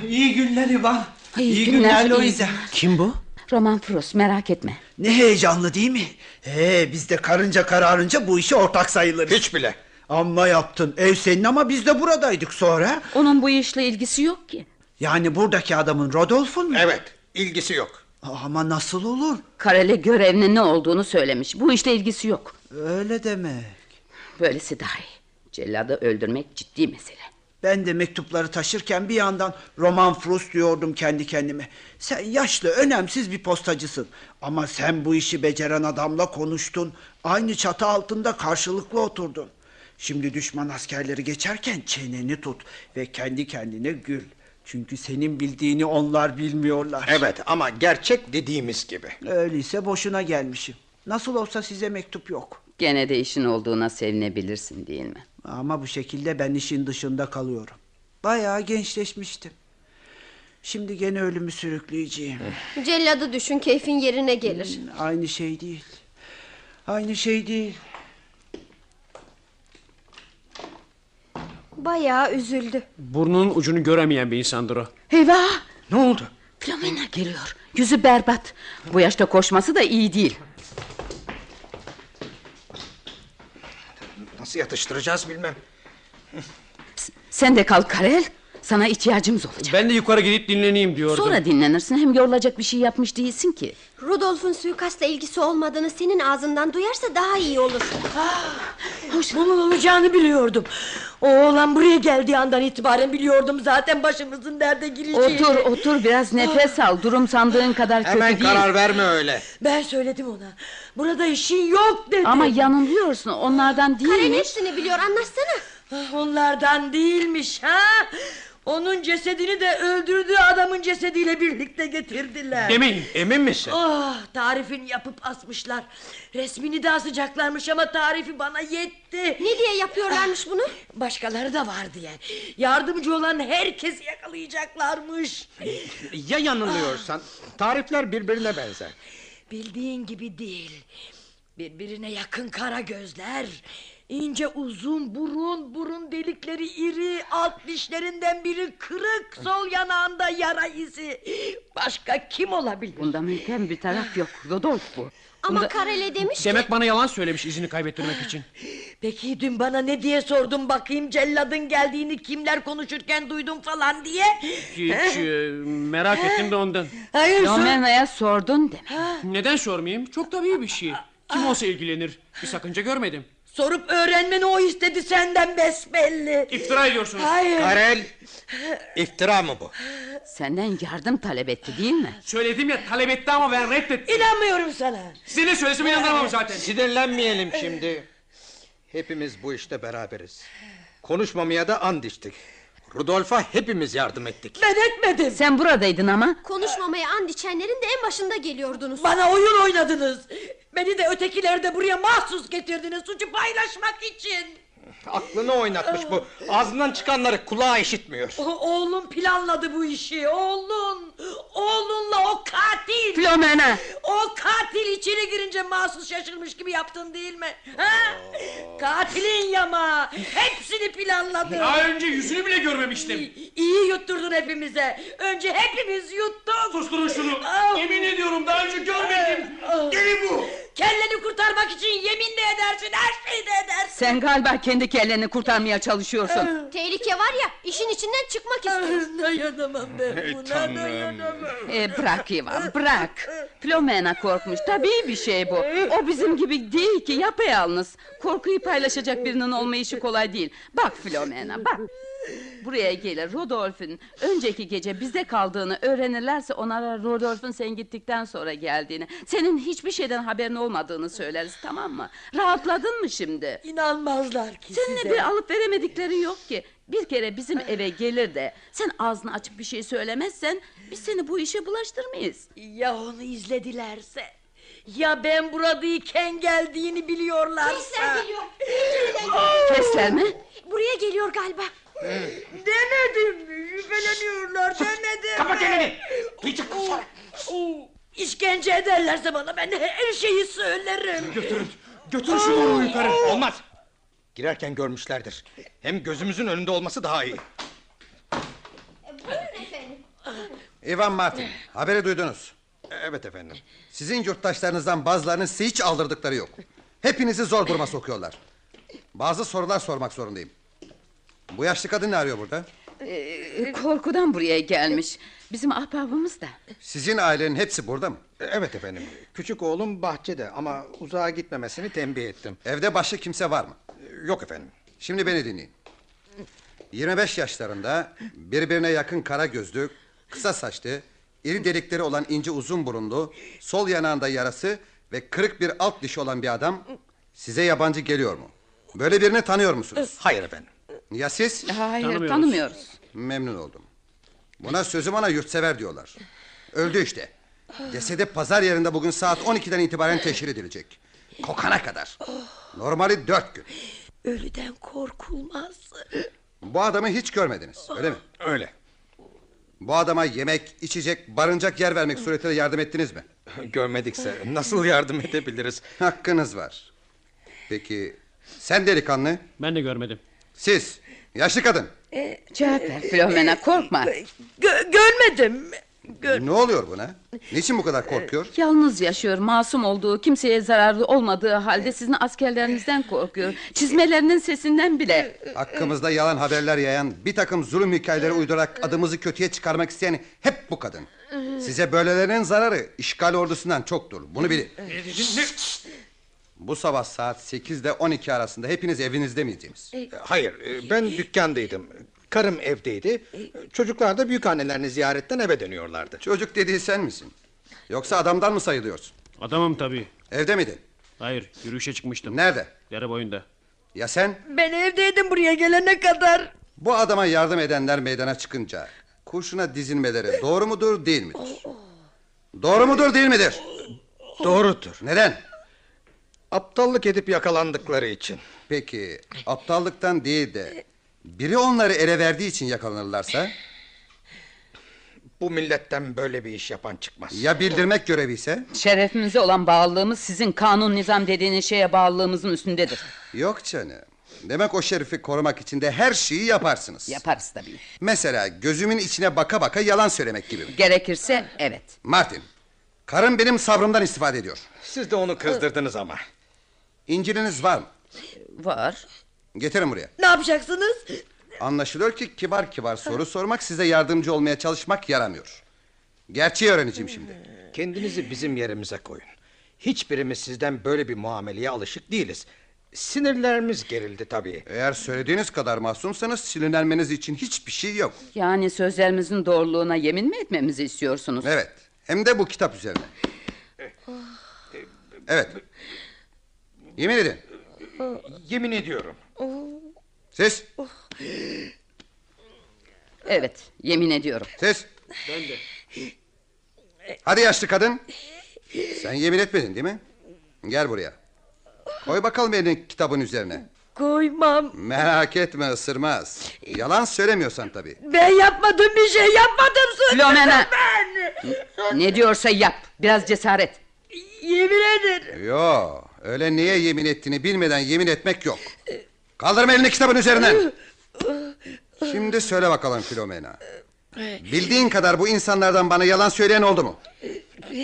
[SPEAKER 6] İyi günler İvan.
[SPEAKER 1] İyi günler, iyi günler.
[SPEAKER 4] Kim bu?
[SPEAKER 1] Roman Proust merak etme.
[SPEAKER 6] Ne heyecanlı değil mi? Ee, biz de karınca kararınca bu işe ortak sayılırız.
[SPEAKER 13] Hiç bile.
[SPEAKER 6] Amma yaptın. Ev senin ama biz de buradaydık sonra.
[SPEAKER 1] Onun bu işle ilgisi yok ki.
[SPEAKER 6] Yani buradaki adamın Rodolf'un mu?
[SPEAKER 13] Evet. ilgisi yok.
[SPEAKER 6] Ama nasıl olur?
[SPEAKER 1] Karele görevinin ne olduğunu söylemiş. Bu işle ilgisi yok.
[SPEAKER 6] Öyle deme.
[SPEAKER 1] Böylesi daha iyi. Celladı öldürmek ciddi mesele.
[SPEAKER 6] Ben de mektupları taşırken bir yandan Roman Frost diyordum kendi kendime. Sen yaşlı, önemsiz bir postacısın. Ama sen bu işi beceren adamla konuştun. Aynı çatı altında karşılıklı oturdun. Şimdi düşman askerleri geçerken çeneni tut ve kendi kendine gül. Çünkü senin bildiğini onlar bilmiyorlar.
[SPEAKER 13] Evet ama gerçek dediğimiz gibi.
[SPEAKER 6] Öyleyse boşuna gelmişim. Nasıl olsa size mektup yok.
[SPEAKER 1] Gene de işin olduğuna sevinebilirsin değil mi?
[SPEAKER 6] Ama bu şekilde ben işin dışında kalıyorum. Bayağı gençleşmiştim. Şimdi gene ölümü sürükleyeceğim.
[SPEAKER 5] Celladı düşün keyfin yerine Eh, gelir.
[SPEAKER 6] Aynı şey değil. Aynı şey değil.
[SPEAKER 5] Bayağı üzüldü.
[SPEAKER 4] Burnunun ucunu göremeyen bir insandır o.
[SPEAKER 1] Eyvah!
[SPEAKER 13] Ne oldu?
[SPEAKER 1] Flomena geliyor. Yüzü berbat. Bu yaşta koşması da iyi değil.
[SPEAKER 13] Nasıl yatıştıracağız bilmem.
[SPEAKER 1] Sen de kalk Karel. Sana ihtiyacımız olacak.
[SPEAKER 4] Ben de yukarı gidip dinleneyim diyordum.
[SPEAKER 1] Sonra dinlenirsin hem yorulacak bir şey yapmış değilsin ki.
[SPEAKER 5] Rodolf'un suikastla ilgisi olmadığını senin ağzından duyarsa daha iyi olur.
[SPEAKER 9] Ah! Bunun olacağını biliyordum. O oğlan buraya geldiği andan itibaren biliyordum zaten başımızın derde gireceğini.
[SPEAKER 1] Otur otur biraz nefes al. Durum sandığın kadar kötü
[SPEAKER 13] Hemen
[SPEAKER 1] değil.
[SPEAKER 13] karar verme öyle.
[SPEAKER 9] Ben söyledim ona. Burada işin yok dedim.
[SPEAKER 1] Ama yanılıyorsun onlardan
[SPEAKER 9] Karen
[SPEAKER 1] değil.
[SPEAKER 9] hepsini biliyor anlatsana. Ah, Onlardan değilmiş ha. Onun cesedini de öldürdüğü adamın cesediyle birlikte getirdiler.
[SPEAKER 4] Emin, emin misin?
[SPEAKER 9] Oh, tarifini yapıp asmışlar. Resmini de asacaklarmış ama tarifi bana yetti. Ah,
[SPEAKER 5] Ne diye yapıyorlarmış bunu?
[SPEAKER 9] Başkaları da vardı yani. Yardımcı olan herkesi yakalayacaklarmış.
[SPEAKER 13] Ya yanılıyorsan? Tarifler birbirine benzer.
[SPEAKER 9] Bildiğin gibi değil. Birbirine yakın kara gözler, ince uzun burun, burun delikleri iri, alt dişlerinden biri kırık, sol yanağında yara izi. Başka kim olabilir? Ah.
[SPEAKER 1] Bunda mümkün bir taraf yok. Rodolf bu.
[SPEAKER 5] Ama
[SPEAKER 1] Bunda-
[SPEAKER 5] Karele demiş ki...
[SPEAKER 4] Demek bana yalan söylemiş izini kaybettirmek için.
[SPEAKER 9] Peki dün bana ne diye sordun bakayım celladın geldiğini kimler konuşurken duydum falan diye.
[SPEAKER 4] Hiç e, merak ettim de ondan.
[SPEAKER 9] Eh. Hayır sor-
[SPEAKER 1] Romena'ya sordun demek.
[SPEAKER 4] Neden sormayayım? Çok tabii bir şey. Kim olsa ilgilenir. Bir sakınca görmedim.
[SPEAKER 9] sorup öğrenmeni o istedi senden besbelli.
[SPEAKER 4] İftira ediyorsunuz.
[SPEAKER 9] Hayır.
[SPEAKER 13] Karel, iftira mı bu?
[SPEAKER 1] Senden yardım talep etti değil mi?
[SPEAKER 4] Söyledim ya talep etti ama ben reddettim.
[SPEAKER 9] İnanmıyorum sana. Ee,
[SPEAKER 4] Size ne söylesem inandıramam zaten.
[SPEAKER 13] Sinirlenmeyelim şimdi. Hepimiz bu işte beraberiz. Konuşmamaya da and içtik. Rudolf'a hepimiz yardım ettik.
[SPEAKER 9] Ben etmedim.
[SPEAKER 1] Sen buradaydın ama.
[SPEAKER 5] Konuşmamaya and içenlerin de en başında geliyordunuz.
[SPEAKER 9] Bana oyun oynadınız. Beni de ötekileri de buraya mahsus getirdiniz suçu paylaşmak için.
[SPEAKER 13] Aklını oynatmış bu. Ağzından çıkanları kulağa işitmiyor.
[SPEAKER 9] O, oğlum planladı bu işi. Oğlun. Oğlunla o katil.
[SPEAKER 1] Flomena.
[SPEAKER 9] O katil içeri girince mahsus şaşırmış gibi yaptın değil mi? Ha? Katilin yama. Hepsini planladı.
[SPEAKER 4] Daha önce yüzünü bile görmemiştim.
[SPEAKER 9] İyi yutturdun hepimize. Önce hepimiz yuttuk.
[SPEAKER 4] Susturun şunu.
[SPEAKER 9] Ah.
[SPEAKER 4] Yemin ediyorum daha önce görmedim.
[SPEAKER 9] Ah.
[SPEAKER 4] Deli bu.
[SPEAKER 9] Kelleni kurtarmak için yemin de edersin, her şeyi de edersin.
[SPEAKER 1] Sen galiba kendi kelleni kurtarmaya çalışıyorsun.
[SPEAKER 5] Tehlike var ya işin içinden çıkmak istiyor.
[SPEAKER 9] Ah, Dayanamam ben buna, dayanamam.
[SPEAKER 1] E, bırak Ivan bırak. Flomena korkmuş. Tabii bir şey bu. O bizim gibi değil ki yapayalnız. Korkuyu paylaşacak birinin olma işi kolay değil. Bak Flomena bak. Buraya gelir Rodolf'ün önceki gece bizde kaldığını öğrenirlerse onlara Rodolf'ün sen gittikten sonra geldiğini, senin hiçbir şeyden haberin olmadığını söyleriz tamam mı? Rahatladın mı şimdi?
[SPEAKER 9] İnanmazlar ki
[SPEAKER 1] Seninle
[SPEAKER 9] size.
[SPEAKER 1] bir alıp veremedikleri yok ki. Bir kere bizim eve gelir de sen ağzını açıp bir şey söylemezsen biz seni bu işe bulaştırmayız.
[SPEAKER 9] Ya onu izledilerse? Ya ben buradayken geldiğini biliyorlarsa?
[SPEAKER 5] Sesler geliyor.
[SPEAKER 1] Sesler mi?
[SPEAKER 5] Buraya geliyor galiba.
[SPEAKER 9] Denedim. Şüpheleniyorlar denedim.
[SPEAKER 5] Kapa
[SPEAKER 9] elini. Duyacak İşkence ederlerse bana ben her şeyi söylerim.
[SPEAKER 13] Götürün. Götür şu boruyu yukarı. Oh. Olmaz. Girerken görmüşlerdir. Hem gözümüzün önünde olması daha iyi.
[SPEAKER 5] Buyurun efendim.
[SPEAKER 9] Ah!
[SPEAKER 15] Ivan Martin, haberi duydunuz.
[SPEAKER 13] Evet efendim.
[SPEAKER 15] Sizin yurttaşlarınızdan bazılarının size hiç aldırdıkları yok. Hepinizi zor duruma sokuyorlar. Bazı sorular sormak zorundayım. Bu yaşlı kadın ne arıyor burada?
[SPEAKER 1] Ee, korkudan buraya gelmiş. Bizim ahbabımız da.
[SPEAKER 15] Sizin ailenin hepsi burada mı?
[SPEAKER 13] E, Evet efendim. Küçük oğlum bahçede ama uzağa gitmemesini tembih ettim.
[SPEAKER 15] Evde başka kimse var mı?
[SPEAKER 13] Yok efendim.
[SPEAKER 15] Şimdi beni dinleyin. 25 yaşlarında birbirine yakın kara gözlü, kısa saçlı, iri delikleri olan ince uzun burunlu, sol yanağında yarası ve kırık bir alt dişi olan bir adam size yabancı geliyor mu? Böyle birini tanıyor musunuz?
[SPEAKER 13] Hayır efendim.
[SPEAKER 15] Ya siz?
[SPEAKER 1] Hayır, Tanımıyoruz. tanımıyoruz.
[SPEAKER 15] Memnun oldum. Buna sözüm ana yurtsever diyorlar. Öldü işte. Cesedi pazar yerinde bugün saat 12'den itibaren teşhir edilecek. Kokana kadar. Normali 4 gün.
[SPEAKER 9] Ölüden korkulmaz.
[SPEAKER 15] Bu adamı hiç görmediniz öyle mi?
[SPEAKER 13] Öyle.
[SPEAKER 15] Bu adama yemek, içecek, barınacak yer vermek suretiyle yardım ettiniz mi?
[SPEAKER 13] Görmedikse nasıl yardım edebiliriz?
[SPEAKER 15] Hakkınız var. Peki sen delikanlı?
[SPEAKER 4] Ben de görmedim.
[SPEAKER 15] Siz yaşlı kadın.
[SPEAKER 9] E,
[SPEAKER 1] Cevap ver Filomena korkma.
[SPEAKER 9] görmedim.
[SPEAKER 15] Ne oluyor buna? Niçin bu kadar korkuyor?
[SPEAKER 1] Yalnız yaşıyor, masum olduğu, kimseye zararlı olmadığı halde sizin askerlerinizden korkuyor. Çizmelerinin sesinden bile.
[SPEAKER 15] Hakkımızda yalan haberler yayan, bir takım zulüm hikayeleri uydurarak adımızı kötüye çıkarmak isteyen hep bu kadın. Size böylelerinin zararı işgal ordusundan çoktur. Bunu bilin. Bu sabah saat 8 ile 12 arasında hepiniz evinizde miydiniz?
[SPEAKER 13] Hayır e, ben dükkandaydım. Karım evdeydi. Çocuklar da büyükannelerini ziyaretten eve dönüyorlardı.
[SPEAKER 15] Çocuk dediği sen misin? Yoksa adamdan mı sayılıyorsun?
[SPEAKER 4] Adamım tabii.
[SPEAKER 15] Evde miydin?
[SPEAKER 4] Hayır yürüyüşe çıkmıştım.
[SPEAKER 15] Nerede?
[SPEAKER 4] Dere boyunda.
[SPEAKER 15] Ya sen?
[SPEAKER 9] Ben evdeydim buraya gelene kadar.
[SPEAKER 15] Bu adama yardım edenler meydana çıkınca kurşuna dizilmeleri doğru mudur değil midir? Doğru mudur değil midir?
[SPEAKER 13] Doğrudur.
[SPEAKER 15] Neden?
[SPEAKER 13] Aptallık edip yakalandıkları için.
[SPEAKER 15] Peki aptallıktan değil de biri onları ele verdiği için yakalanırlarsa
[SPEAKER 13] Bu milletten böyle bir iş yapan çıkmaz.
[SPEAKER 15] ya bildirmek görevi ise?
[SPEAKER 1] Şerefimize olan bağlılığımız sizin kanun nizam dediğiniz şeye bağlılığımızın üstündedir.
[SPEAKER 15] Yok canım. Demek o şerifi korumak için de her şeyi yaparsınız.
[SPEAKER 1] Yaparız tabii.
[SPEAKER 15] Mesela gözümün içine baka baka yalan söylemek gibi. mi?
[SPEAKER 1] Gerekirse evet.
[SPEAKER 15] Martin, karım benim sabrımdan istifade ediyor.
[SPEAKER 13] Siz de onu kızdırdınız ama.
[SPEAKER 15] İnciliniz var mı?
[SPEAKER 1] Var.
[SPEAKER 15] Getirin buraya.
[SPEAKER 9] Ne yapacaksınız?
[SPEAKER 15] Anlaşılıyor ki kibar kibar soru sormak size yardımcı olmaya çalışmak yaramıyor. Gerçeği öğreneceğim şimdi.
[SPEAKER 13] Kendinizi bizim yerimize koyun. Hiçbirimiz sizden böyle bir muameleye alışık değiliz. Sinirlerimiz gerildi tabii.
[SPEAKER 15] Eğer söylediğiniz kadar masumsanız sinirlenmeniz için hiçbir şey yok.
[SPEAKER 1] Yani sözlerimizin doğruluğuna yemin mi etmemizi istiyorsunuz?
[SPEAKER 15] Evet. Hem de bu kitap üzerine. Evet. Yemin edin.
[SPEAKER 13] Yemin ediyorum.
[SPEAKER 15] Siz.
[SPEAKER 1] Evet, yemin ediyorum.
[SPEAKER 15] Siz.
[SPEAKER 14] Ben de.
[SPEAKER 15] Hadi yaşlı kadın. Sen yemin etmedin değil mi? Gel buraya. Koy bakalım elini kitabın üzerine.
[SPEAKER 9] Koymam.
[SPEAKER 15] Merak etme ısırmaz. Yalan söylemiyorsan tabii.
[SPEAKER 9] Ben yapmadım bir şey yapmadım suçlu
[SPEAKER 1] Filomena!
[SPEAKER 9] ben.
[SPEAKER 1] Ne diyorsa yap. Biraz cesaret.
[SPEAKER 9] Yemin ederim.
[SPEAKER 15] Yo, öyle niye yemin ettiğini bilmeden yemin etmek yok. Kaldırma elini kitabın üzerinden. Şimdi söyle bakalım Filomena. Bildiğin kadar bu insanlardan bana yalan söyleyen oldu mu?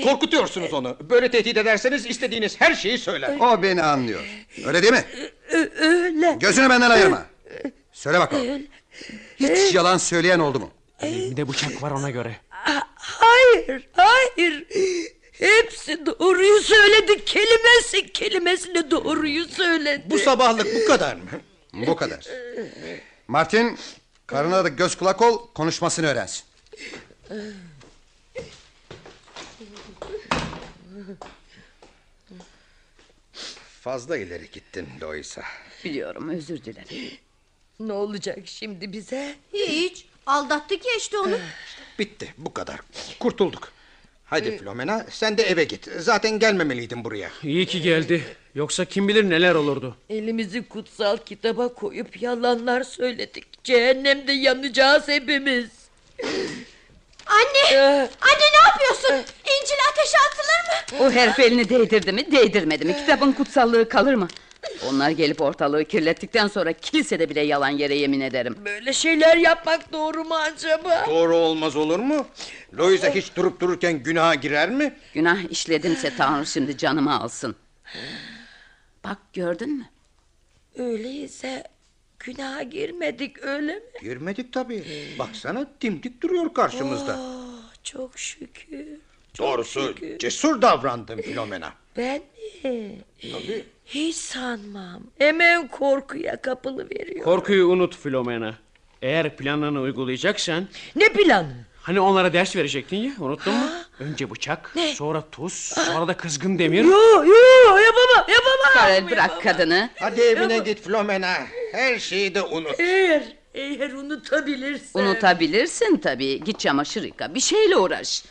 [SPEAKER 13] Korkutuyorsunuz onu. Böyle tehdit ederseniz istediğiniz her şeyi söyler.
[SPEAKER 15] O beni anlıyor. Öyle değil mi?
[SPEAKER 9] Öyle.
[SPEAKER 15] Gözünü benden ayırma. Söyle bakalım. Hiç yalan söyleyen oldu mu?
[SPEAKER 4] Elimde bıçak var ona göre.
[SPEAKER 9] Ah, Hayır, hayır. Hepsi doğruyu söyledi. Kelimesi kelimesine doğruyu söyledi.
[SPEAKER 13] Bu sabahlık bu kadar mı?
[SPEAKER 15] Bu kadar. Martin, Karına da göz kulak ol konuşmasını öğrensin.
[SPEAKER 3] Fazla ileri gittin Loisa.
[SPEAKER 1] Biliyorum özür dilerim.
[SPEAKER 9] Ne olacak şimdi bize? Ah.
[SPEAKER 5] Hiç. Aldattı ki işte onu.
[SPEAKER 3] Bitti bu kadar. Kurtulduk.
[SPEAKER 9] Ee,
[SPEAKER 3] Hadi Flomena sen de eve git. Zaten gelmemeliydin buraya.
[SPEAKER 4] İyi ki geldi. Yoksa kim bilir neler olurdu.
[SPEAKER 9] Elimizi kutsal kitaba koyup yalanlar söyledik. Cehennemde yanacağız hepimiz. Ee,
[SPEAKER 5] Anne! Anne ne yapıyorsun?
[SPEAKER 9] e,
[SPEAKER 5] İncil ateşe atılır mı?
[SPEAKER 9] Oh,
[SPEAKER 1] O herif elini değdirdi mi değdirmedi mi kitabın kutsallığı kalır mı? Onlar gelip ortalığı kirlettikten sonra kilisede bile yalan yere yemin ederim.
[SPEAKER 9] Böyle şeyler yapmak doğru mu acaba?
[SPEAKER 3] Doğru olmaz olur mu? Loisa hiç durup dururken günaha girer mi?
[SPEAKER 1] Günah işledimse Tanrı şimdi canımı alsın. Bak gördün mü?
[SPEAKER 9] Öyleyse günaha girmedik öyle mi?
[SPEAKER 3] Girmedik tabii. Baksana dimdik duruyor karşımızda.
[SPEAKER 9] Oh, Ee. çok şükür.
[SPEAKER 3] Doğrusu cesur davrandın Flomena.
[SPEAKER 9] Ben mi?
[SPEAKER 3] Tabii.
[SPEAKER 9] Hiç sanmam. Hemen korkuya kapılı veriyor.
[SPEAKER 4] Korkuyu unut Filomena. Eğer planlarını uygulayacaksan...
[SPEAKER 9] Ne planı?
[SPEAKER 4] Hani onlara ders verecektin ya unuttun mu? Önce bıçak, sonra tuz, sonra da kızgın demir.
[SPEAKER 9] Yo yo yapamam yapamam.
[SPEAKER 1] Karel bırak kadını.
[SPEAKER 3] Hadi evine git Flomena. Her şeyi de unut.
[SPEAKER 9] Eğer, eğer unutabilirsen.
[SPEAKER 1] Unutabilirsin tabii. Git çamaşır yıka. Bir şeyle uğraş.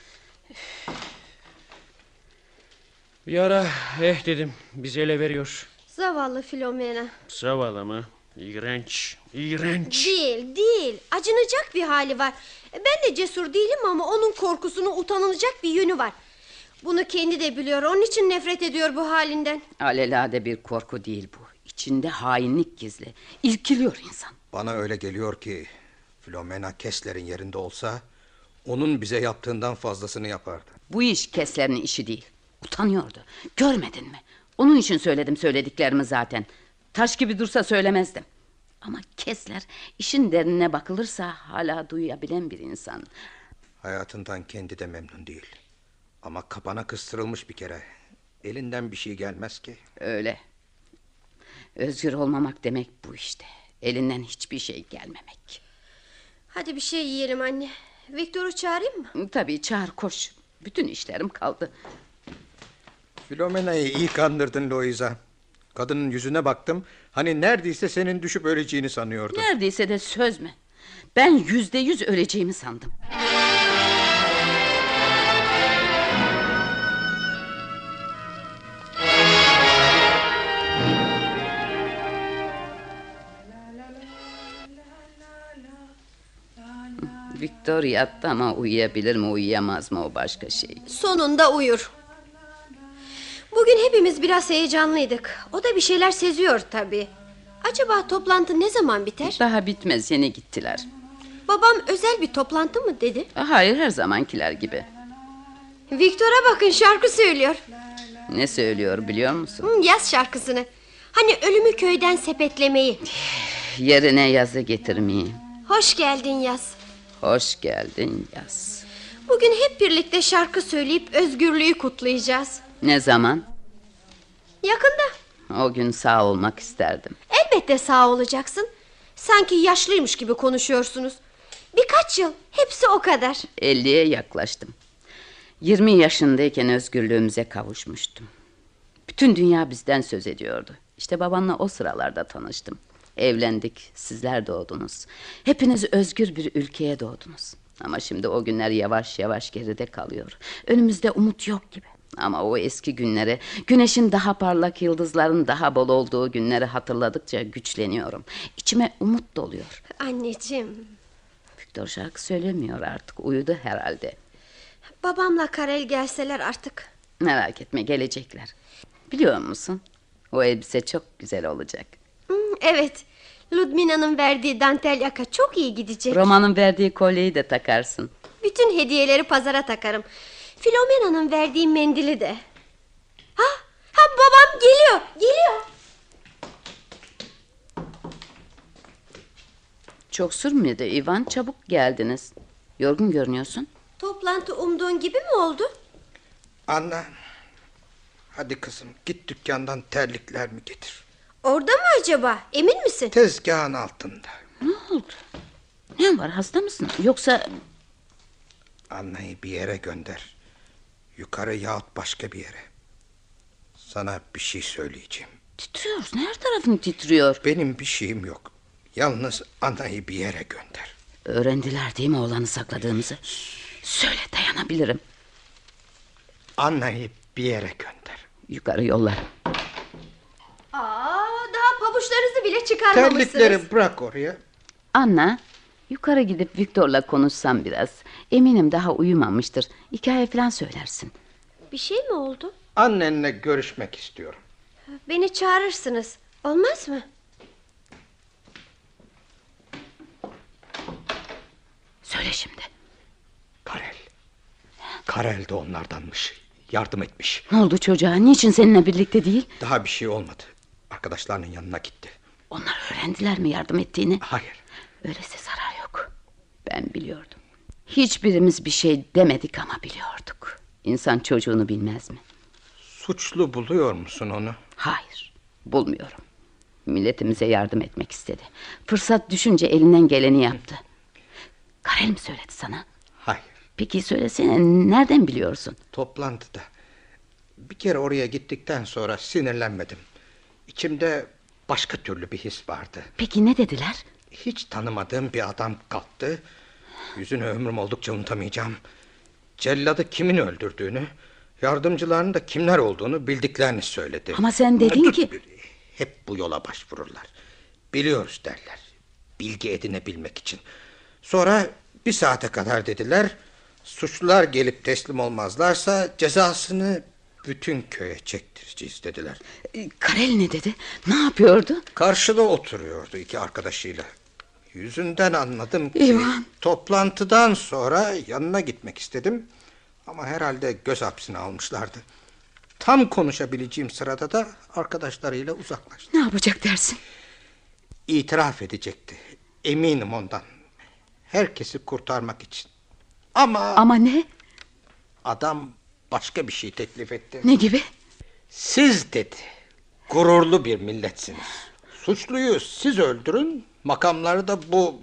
[SPEAKER 4] Bir ara eh dedim bizi ele veriyor.
[SPEAKER 5] Zavallı Filomena.
[SPEAKER 4] Zavallı ama iğrenç, iğrenç.
[SPEAKER 5] Değil değil. Acınacak bir hali var. Ben de cesur değilim ama onun korkusunu utanılacak bir yönü var. Bunu kendi de biliyor. Onun için nefret ediyor bu halinden.
[SPEAKER 1] Alelade bir korku değil bu. İçinde hainlik gizli. İrkiliyor insan.
[SPEAKER 3] Bana öyle geliyor ki Flomena Kessler'in yerinde olsa onun bize yaptığından fazlasını yapardı.
[SPEAKER 1] Bu iş Kesler'in işi değil. Utanıyordu. Görmedin mi? Onun için söyledim söylediklerimi zaten. Taş gibi dursa söylemezdim. Ama Kesler işin derinine bakılırsa hala duyabilen bir insan.
[SPEAKER 3] Hayatından kendi de memnun değil. Ama kapana kıstırılmış bir kere. Elinden bir şey gelmez ki.
[SPEAKER 1] Öyle. Özgür olmamak demek bu işte. Elinden hiçbir şey gelmemek.
[SPEAKER 5] Hadi bir şey yiyelim anne. Viktor'u çağırayım mı?
[SPEAKER 1] Tabii çağır koş. Bütün işlerim kaldı.
[SPEAKER 3] Filomena'yı iyi kandırdın Loiza. Kadının yüzüne baktım. Hani neredeyse senin düşüp öleceğini sanıyordum.
[SPEAKER 1] Neredeyse de söz mü? Ben yüzde yüz öleceğimi sandım. Victor yattı ama uyuyabilir mi uyuyamaz mı o başka şey.
[SPEAKER 5] Sonunda uyur. Bugün hepimiz biraz heyecanlıydık. O da bir şeyler seziyor tabii. Acaba toplantı ne zaman biter?
[SPEAKER 1] Daha bitmez yeni gittiler.
[SPEAKER 5] Babam özel bir toplantı mı dedi?
[SPEAKER 1] Hayır her zamankiler gibi.
[SPEAKER 5] Viktor'a bakın şarkı söylüyor.
[SPEAKER 1] Ne söylüyor biliyor musun?
[SPEAKER 5] Hı, Yaz şarkısını. Hani ölümü köyden sepetlemeyi.
[SPEAKER 1] Yerine yazı getirmeyi.
[SPEAKER 5] Hoş geldin yaz.
[SPEAKER 1] Hoş geldin yaz.
[SPEAKER 5] Bugün hep birlikte şarkı söyleyip özgürlüğü kutlayacağız.
[SPEAKER 1] Ne zaman?
[SPEAKER 5] Yakında.
[SPEAKER 1] O gün sağ olmak isterdim.
[SPEAKER 5] Elbette sağ olacaksın. Sanki yaşlıymış gibi konuşuyorsunuz. Birkaç yıl. Hepsi o kadar.
[SPEAKER 1] 50'ye yaklaştım. 20 yaşındayken özgürlüğümüze kavuşmuştum. Bütün dünya bizden söz ediyordu. İşte babanla o sıralarda tanıştım. Evlendik, sizler doğdunuz. Hepiniz özgür bir ülkeye doğdunuz. Ama şimdi o günler yavaş yavaş geride kalıyor. Önümüzde umut yok gibi. Ama o eski günleri, güneşin daha parlak, yıldızların daha bol olduğu günleri hatırladıkça güçleniyorum. İçime umut doluyor.
[SPEAKER 5] Anneciğim.
[SPEAKER 1] Viktor şarkı söylemiyor artık, uyudu herhalde.
[SPEAKER 5] Babamla Karel gelseler artık.
[SPEAKER 1] Merak etme gelecekler. Biliyor musun? O elbise çok güzel olacak.
[SPEAKER 5] Hmm, Evet. Ludmina'nın verdiği dantel yaka çok iyi gidecek.
[SPEAKER 1] Romanın verdiği kolyeyi de takarsın.
[SPEAKER 5] Bütün hediyeleri pazara takarım. Filomena'nın verdiği mendili de. Ha, ha babam geliyor, geliyor.
[SPEAKER 1] Çok sürmedi İvan çabuk geldiniz. Yorgun görünüyorsun.
[SPEAKER 5] Toplantı umduğun gibi mi oldu?
[SPEAKER 3] Anna. Hadi kızım git dükkandan terlikler mi getir.
[SPEAKER 5] Orada mı acaba? Emin misin?
[SPEAKER 3] Tezgahın altında.
[SPEAKER 1] Ne oldu? Ne var hasta mısın? Yoksa
[SPEAKER 3] Anna'yı bir yere gönder. Yukarı yahut başka bir yere. Sana bir şey söyleyeceğim.
[SPEAKER 1] titriyorsun her tarafın titriyor.
[SPEAKER 3] Benim bir şeyim yok. Yalnız Anna'yı bir yere gönder.
[SPEAKER 1] Öğrendiler değil mi oğlanı sakladığımızı? Söyle dayanabilirim.
[SPEAKER 3] Anna'yı bir yere gönder.
[SPEAKER 1] Yukarı yollar.
[SPEAKER 5] Aa, daha pabuçlarınızı bile çıkarmamışsınız.
[SPEAKER 3] Terlikleri bırak oraya.
[SPEAKER 1] Anna yukarı gidip Viktor'la konuşsam biraz. Eminim daha uyumamıştır. Hikaye falan söylersin.
[SPEAKER 5] Bir şey mi oldu?
[SPEAKER 3] Annenle görüşmek istiyorum.
[SPEAKER 5] Beni çağırırsınız. Olmaz mı?
[SPEAKER 1] Söyle şimdi.
[SPEAKER 3] Karel. Karel de onlardanmış. Yardım etmiş.
[SPEAKER 1] Ne oldu çocuğa? Niçin seninle birlikte değil?
[SPEAKER 3] Daha bir şey olmadı. Arkadaşlarının yanına gitti.
[SPEAKER 1] Onlar öğrendiler mi yardım ettiğini?
[SPEAKER 3] Hayır.
[SPEAKER 1] Öyleyse zarar yok. Ben biliyordum. Hiçbirimiz bir şey demedik ama biliyorduk. İnsan çocuğunu bilmez mi?
[SPEAKER 3] Suçlu buluyor musun onu?
[SPEAKER 1] Hayır. Bulmuyorum. Milletimize yardım etmek istedi. Fırsat düşünce elinden geleni yaptı. Karel mi söyledi sana?
[SPEAKER 3] Hayır.
[SPEAKER 1] Peki söylesene nereden biliyorsun?
[SPEAKER 3] Toplantıda. Bir kere oraya gittikten sonra sinirlenmedim. İçimde başka türlü bir his vardı.
[SPEAKER 1] Peki ne dediler?
[SPEAKER 3] Hiç tanımadığım bir adam kalktı. Yüzünü ömrüm oldukça unutamayacağım. Celladı kimin öldürdüğünü, yardımcılarının da kimler olduğunu bildiklerini söyledi.
[SPEAKER 1] Ama sen dedin
[SPEAKER 3] Dur,
[SPEAKER 1] ki-
[SPEAKER 3] Hep bu yola başvururlar. Biliyoruz derler. Bilgi edinebilmek için. Sonra bir saate kadar dediler. Suçlular gelip teslim olmazlarsa cezasını bütün köye çektireceğiz dediler.
[SPEAKER 1] Karel ne dedi? Ne yapıyordu?
[SPEAKER 3] Karşıda oturuyordu iki arkadaşıyla. Yüzünden anladım ki
[SPEAKER 1] İvan.
[SPEAKER 3] toplantıdan sonra yanına gitmek istedim. Ama herhalde göz hapsine almışlardı. Tam konuşabileceğim sırada da arkadaşlarıyla uzaklaştı.
[SPEAKER 1] Ne yapacak dersin?
[SPEAKER 3] İtiraf edecekti. Eminim ondan. Herkesi kurtarmak için. Ama...
[SPEAKER 1] Ama ne?
[SPEAKER 3] Adam başka bir şey teklif etti.
[SPEAKER 1] Ne gibi?
[SPEAKER 3] Siz dedi. Gururlu bir milletsiniz. Suçluyu siz öldürün, makamları da bu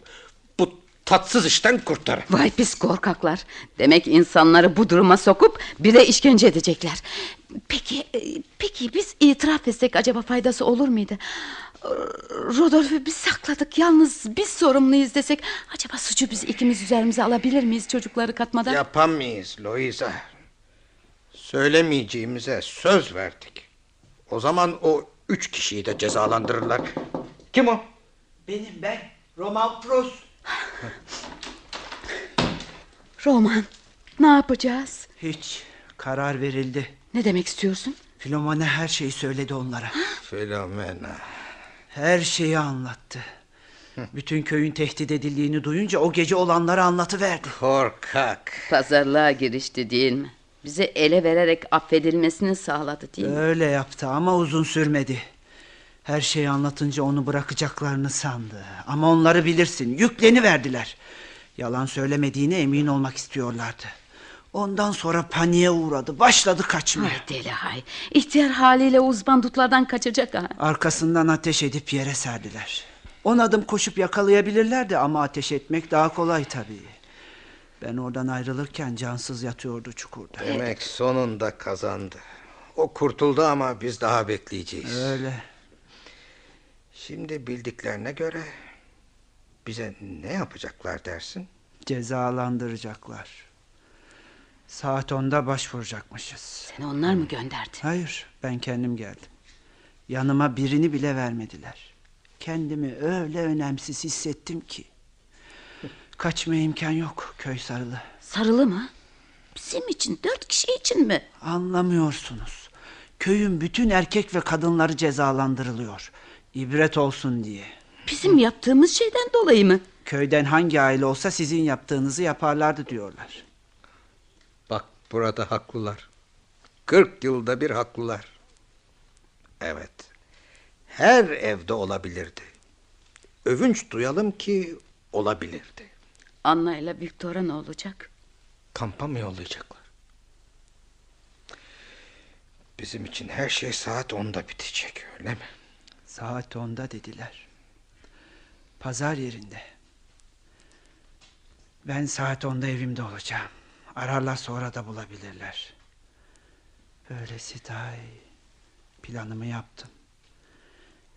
[SPEAKER 3] bu tatsız işten kurtarın.
[SPEAKER 1] Vay pis korkaklar. Demek insanları bu duruma sokup bir de işkence edecekler. Peki e, peki biz itiraf etsek acaba faydası olur muydu? E, Rodolf'u biz sakladık. Yalnız biz sorumluyuz desek acaba suçu biz ikimiz üzerimize alabilir miyiz çocukları katmadan?
[SPEAKER 3] Yapamayız Louisa. Söylemeyeceğimize söz verdik. O zaman o üç kişiyi de cezalandırırlar. Kim o?
[SPEAKER 6] Benim ben Roman Prost.
[SPEAKER 1] Roman ne yapacağız?
[SPEAKER 6] Hiç karar verildi.
[SPEAKER 1] Ne demek istiyorsun?
[SPEAKER 6] Filomena her şeyi söyledi onlara.
[SPEAKER 3] Filomena.
[SPEAKER 6] Her şeyi anlattı. Bütün köyün tehdit edildiğini duyunca o gece olanları anlatıverdi.
[SPEAKER 3] Korkak.
[SPEAKER 1] Pazarlığa girişti değil mi? Bizi ele vererek affedilmesini sağladı değil mi?
[SPEAKER 6] Öyle yaptı ama uzun sürmedi. Her şeyi anlatınca onu bırakacaklarını sandı. Ama onları bilirsin. Yükleni verdiler. Yalan söylemediğine emin olmak istiyorlardı. Ondan sonra paniğe uğradı. Başladı kaçmaya.
[SPEAKER 1] Hay deli hay. İhtiyar haliyle uzbandutlardan kaçacak ha.
[SPEAKER 6] Arkasından ateş edip yere serdiler. On adım koşup yakalayabilirlerdi ama ateş etmek daha kolay tabii. Ben oradan ayrılırken cansız yatıyordu çukurda.
[SPEAKER 3] Demek sonunda kazandı. O kurtuldu ama biz daha bekleyeceğiz.
[SPEAKER 6] Öyle.
[SPEAKER 3] Şimdi bildiklerine göre bize ne yapacaklar dersin?
[SPEAKER 6] Cezalandıracaklar. Saat 10'da başvuracakmışız.
[SPEAKER 1] Seni onlar mı gönderdi?
[SPEAKER 6] Hayır, ben kendim geldim. Yanıma birini bile vermediler. Kendimi öyle önemsiz hissettim ki. Kaçmaya imkan yok köy sarılı.
[SPEAKER 1] Sarılı mı? Bizim için dört kişi için mi?
[SPEAKER 6] Anlamıyorsunuz. Köyün bütün erkek ve kadınları cezalandırılıyor. İbret olsun diye.
[SPEAKER 1] Bizim yaptığımız şeyden dolayı mı?
[SPEAKER 6] Köyden hangi aile olsa sizin yaptığınızı yaparlardı diyorlar.
[SPEAKER 3] Bak burada haklılar. 40 yılda bir haklılar. Evet. Her evde olabilirdi. Övünç duyalım ki olabilirdi.
[SPEAKER 1] Anna ile Viktor'a ne olacak?
[SPEAKER 3] Kampa mı yollayacaklar? Bizim için her şey saat 10'da bitecek öyle mi?
[SPEAKER 6] Saat onda dediler. Pazar yerinde. Ben saat 10'da evimde olacağım. Ararlar sonra da bulabilirler. Böylesi daha iyi. Planımı yaptım.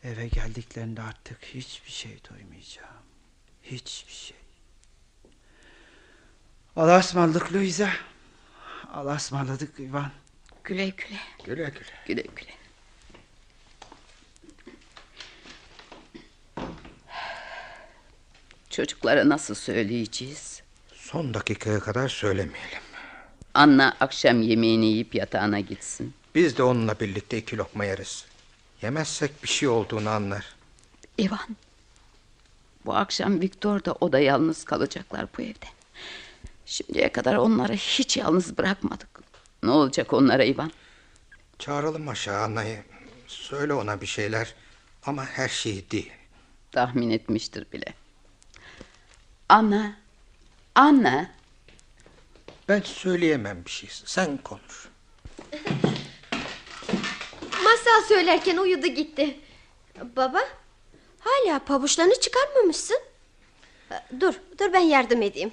[SPEAKER 6] Eve geldiklerinde artık hiçbir şey duymayacağım. Hiçbir şey. Allah'a ısmarladık Luisa. Allah'a ısmarladık Ivan.
[SPEAKER 1] Güle güle.
[SPEAKER 3] Güle güle.
[SPEAKER 1] Güle güle. Çocuklara nasıl söyleyeceğiz?
[SPEAKER 3] Son dakikaya kadar söylemeyelim.
[SPEAKER 1] Anna akşam yemeğini yiyip yatağına gitsin.
[SPEAKER 3] Biz de onunla birlikte iki lokma yeriz. Yemezsek bir şey olduğunu anlar.
[SPEAKER 1] İvan. Bu akşam Viktor da o da yalnız kalacaklar bu evde. Şimdiye kadar onları hiç yalnız bırakmadık. Ne olacak onlara İvan?
[SPEAKER 3] Çağıralım aşağı Anna'yı. Söyle ona bir şeyler ama her şeyi değil.
[SPEAKER 1] Tahmin etmiştir bile. Anna. Anna.
[SPEAKER 3] Ben söyleyemem bir şey. Sen konuş.
[SPEAKER 5] Masal söylerken uyudu gitti. Baba, hala pabuçlarını çıkarmamışsın. Dur, dur ben yardım edeyim.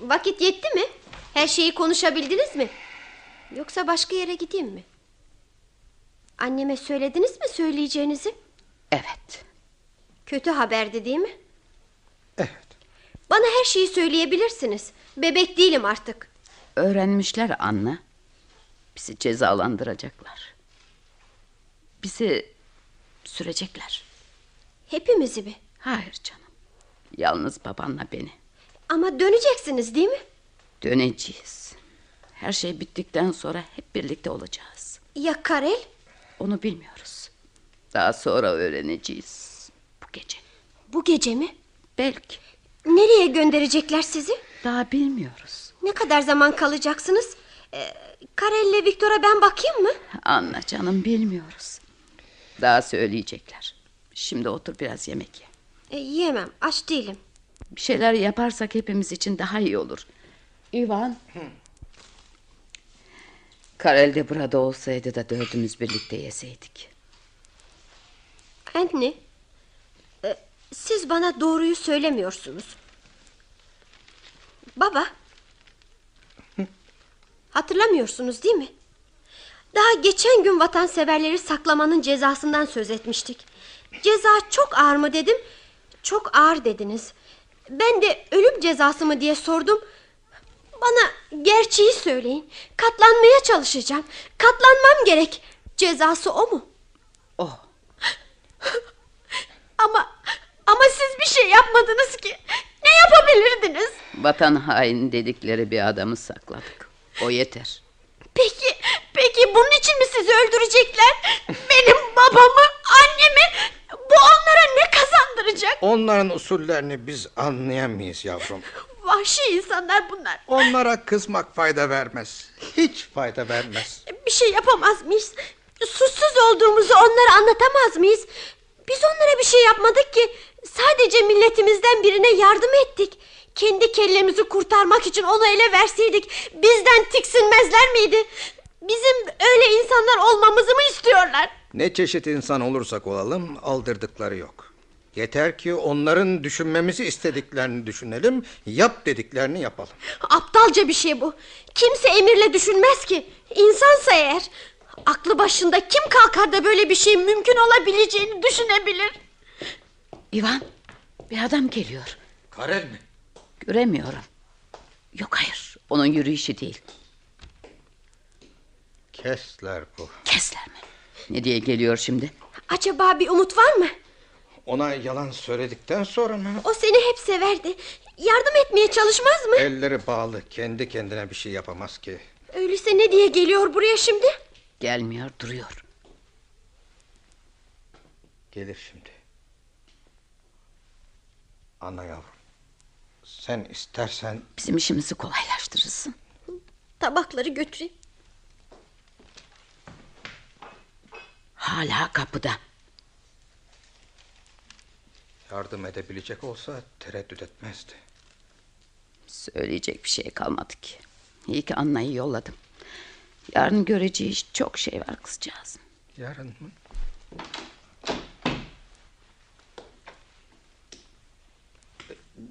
[SPEAKER 5] Vakit yetti mi? Her şeyi konuşabildiniz mi? Yoksa başka yere gideyim mi? Anneme söylediniz mi söyleyeceğinizi?
[SPEAKER 1] Evet.
[SPEAKER 5] Kötü haberdi değil mi? Evet. Bana her şeyi söyleyebilirsiniz. Bebek değilim artık.
[SPEAKER 1] Öğrenmişler Anna. Bizi cezalandıracaklar. Bizi sürecekler.
[SPEAKER 5] Hepimizi mi?
[SPEAKER 1] Hayır canım. Yalnız babanla beni.
[SPEAKER 5] Ama döneceksiniz değil mi?
[SPEAKER 1] Döneceğiz. Her şey bittikten sonra hep birlikte olacağız.
[SPEAKER 5] Ya Karel?
[SPEAKER 1] Onu bilmiyoruz. Daha sonra öğreneceğiz. Bu gece.
[SPEAKER 5] Bu gece mi?
[SPEAKER 1] Belki.
[SPEAKER 5] Nereye gönderecekler sizi?
[SPEAKER 1] Daha bilmiyoruz.
[SPEAKER 5] Ne kadar zaman kalacaksınız? Ee, Karel'le Viktor'a ben bakayım mı?
[SPEAKER 1] Anla canım bilmiyoruz. Daha söyleyecekler. Şimdi otur biraz yemek ye.
[SPEAKER 5] Ee, yiyemem, aç değilim.
[SPEAKER 1] Bir şeyler yaparsak hepimiz için daha iyi olur. İvan. Karel de burada olsaydı da dördümüz birlikte yeseydik.
[SPEAKER 5] Anne, e, siz bana doğruyu söylemiyorsunuz. Baba, hatırlamıyorsunuz değil mi? Daha geçen gün vatanseverleri saklamanın cezasından söz etmiştik. Ceza çok ağır mı dedim, çok ağır dediniz. Ben de ölüm cezası mı diye sordum. Bana gerçeği söyleyin. Katlanmaya çalışacağım. Katlanmam gerek. Cezası o mu?
[SPEAKER 1] O.
[SPEAKER 5] Ama ama siz bir şey yapmadınız ki. Ne yapabilirdiniz?
[SPEAKER 1] Vatan haini dedikleri bir adamı sakladık. O yeter.
[SPEAKER 5] Peki, peki bunun için mi sizi öldürecekler? Benim babamı, annemi bu onlara ne kazandıracak?
[SPEAKER 3] Onların usullerini biz anlayamayız yavrum.
[SPEAKER 5] Vahşi insanlar bunlar.
[SPEAKER 3] Onlara kızmak fayda vermez. Hiç fayda vermez.
[SPEAKER 5] Bir şey yapamaz mıyız? Suçsuz olduğumuzu onlara anlatamaz mıyız? Biz onlara bir şey yapmadık ki. Sadece milletimizden birine yardım ettik. Kendi kellemizi kurtarmak için onu ele verseydik bizden tiksinmezler miydi? Bizim öyle insanlar olmamızı mı istiyorlar?
[SPEAKER 3] Ne çeşit insan olursak olalım aldırdıkları yok. Yeter ki onların düşünmemizi istediklerini düşünelim, yap dediklerini yapalım.
[SPEAKER 5] Aptalca bir şey bu. Kimse emirle düşünmez ki. İnsansa eğer. Aklı başında kim kalkar da böyle bir şeyin mümkün olabileceğini düşünebilir?
[SPEAKER 1] İvan, bir adam geliyor.
[SPEAKER 10] Karel mi?
[SPEAKER 1] Göremiyorum. Yok hayır, onun yürüyüşü değil.
[SPEAKER 3] Kesler bu.
[SPEAKER 1] Kesler mi? Ne diye geliyor şimdi?
[SPEAKER 5] Acaba bir umut var mı?
[SPEAKER 3] Ona yalan söyledikten sonra mı?
[SPEAKER 5] O seni hep severdi. Yardım etmeye çalışmaz mı?
[SPEAKER 3] Elleri bağlı, kendi kendine bir şey yapamaz ki.
[SPEAKER 5] Öyleyse ne diye geliyor buraya şimdi?
[SPEAKER 1] Gelmiyor, duruyor.
[SPEAKER 3] Gelir şimdi. Ana yavrum. Sen istersen
[SPEAKER 1] Bizim işimizi kolaylaştırırsın.
[SPEAKER 5] Tabakları götüreyim.
[SPEAKER 1] Hala kapıda.
[SPEAKER 3] yardım edebilecek olsa tereddüt etmezdi.
[SPEAKER 1] Söyleyecek bir şey kalmadı ki. İyi ki Anna'yı yolladım. Yarın göreceği çok şey var kızcağızın.
[SPEAKER 3] Yarın mı?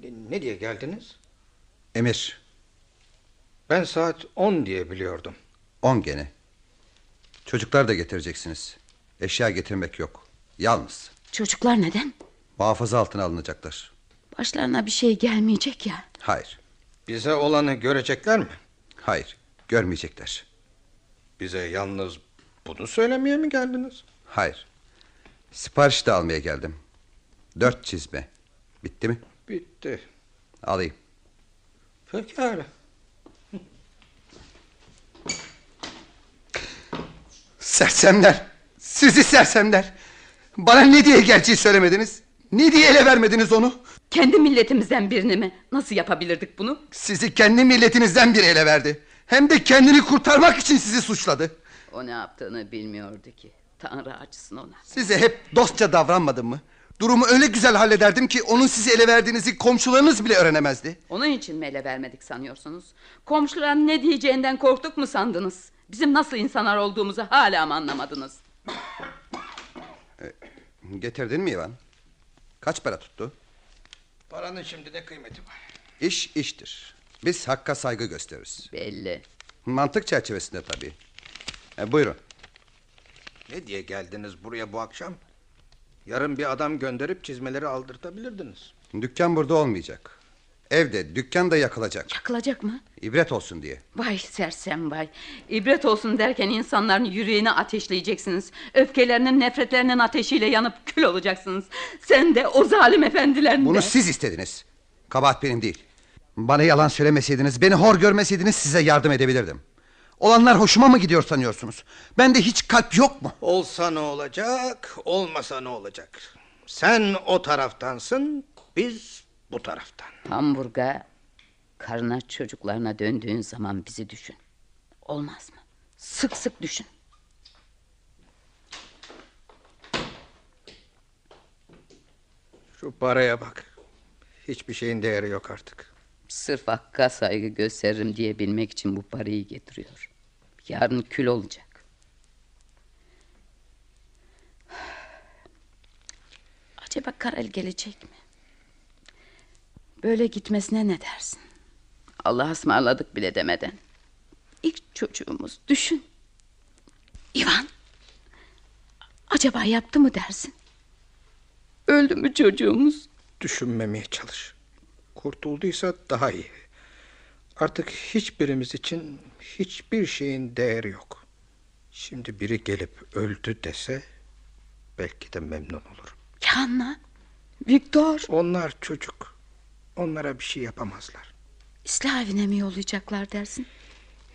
[SPEAKER 3] Ne- Ne diye geldiniz?
[SPEAKER 15] Emir.
[SPEAKER 3] Ben saat 10 diye biliyordum.
[SPEAKER 15] 10 gene. Çocuklar da getireceksiniz. Eşya getirmek yok. Yalnız.
[SPEAKER 1] Çocuklar neden?
[SPEAKER 15] Muhafaza altına alınacaklar.
[SPEAKER 1] Başlarına bir şey gelmeyecek ya.
[SPEAKER 15] Hayır.
[SPEAKER 3] Bize olanı görecekler mi?
[SPEAKER 15] Hayır. Görmeyecekler.
[SPEAKER 3] Bize yalnız bunu söylemeye mi geldiniz?
[SPEAKER 15] Hayır. Sipariş de almaya geldim. Dört çizme. Bitti mi?
[SPEAKER 3] Bitti.
[SPEAKER 15] Alayım.
[SPEAKER 3] Pekala.
[SPEAKER 15] Sersemler. Sizi sersemler. Bana ne diye gerçeği söylemediniz? Ne diye ele vermediniz onu?
[SPEAKER 1] Kendi milletimizden birini mi? Nasıl yapabilirdik bunu?
[SPEAKER 15] Sizi kendi milletinizden biri ele verdi. Hem de kendini kurtarmak için sizi suçladı.
[SPEAKER 1] O ne yaptığını bilmiyordu ki. Tanrı açsın ona.
[SPEAKER 15] Size hep dostça davranmadım mı? Durumu öyle güzel hallederdim ki onun sizi ele verdiğinizi komşularınız bile öğrenemezdi.
[SPEAKER 1] Onun için mi ele vermedik sanıyorsunuz? Komşuların ne diyeceğinden korktuk mu sandınız? Bizim nasıl insanlar olduğumuzu hala mı anlamadınız?
[SPEAKER 15] Getirdin mi İvan? Kaç para tuttu?
[SPEAKER 3] Paranın şimdi ne kıymeti var?
[SPEAKER 15] İş iştir. Biz hakka saygı gösteririz.
[SPEAKER 1] Belli.
[SPEAKER 15] Mantık çerçevesinde tabii. E, buyurun.
[SPEAKER 3] Ne diye geldiniz buraya bu akşam? Yarın bir adam gönderip çizmeleri aldırtabilirdiniz.
[SPEAKER 15] Dükkan burada olmayacak. Evde dükkan da yakılacak.
[SPEAKER 1] Yakılacak mı?
[SPEAKER 15] İbret olsun diye.
[SPEAKER 1] Vay sersem vay. İbret olsun derken insanların yüreğini ateşleyeceksiniz. Öfkelerinin, nefretlerinin ateşiyle yanıp kül olacaksınız. Sen de o zalim efendilerin de.
[SPEAKER 15] Bunu siz istediniz. Kabahat benim değil. Bana yalan söylemeseydiniz, beni hor görmeseydiniz size yardım edebilirdim. Olanlar hoşuma mı gidiyor sanıyorsunuz? Bende hiç kalp yok mu?
[SPEAKER 3] Olsa ne olacak, olmasa ne olacak? Sen o taraftansın, biz bu taraftan.
[SPEAKER 1] Hamburg'a karına çocuklarına döndüğün zaman bizi düşün. Olmaz mı? Sık sık düşün.
[SPEAKER 3] Şu paraya bak. Hiçbir şeyin değeri yok artık.
[SPEAKER 1] Sırf hakka saygı gösteririm diye bilmek için bu parayı getiriyor. Yarın kül olacak. Acaba Karel gelecek mi? Böyle gitmesine ne dersin? Allah'a ısmarladık bile demeden. İlk çocuğumuz düşün. İvan. Acaba yaptı mı dersin? Öldü mü çocuğumuz?
[SPEAKER 3] Düşünmemeye çalış. Kurtulduysa daha iyi. Artık hiçbirimiz için hiçbir şeyin değeri yok. Şimdi biri gelip öldü dese belki de memnun olurum.
[SPEAKER 1] Kanla. Viktor.
[SPEAKER 3] Onlar çocuk. Onlara bir şey yapamazlar.
[SPEAKER 1] İslah evine mi yollayacaklar dersin?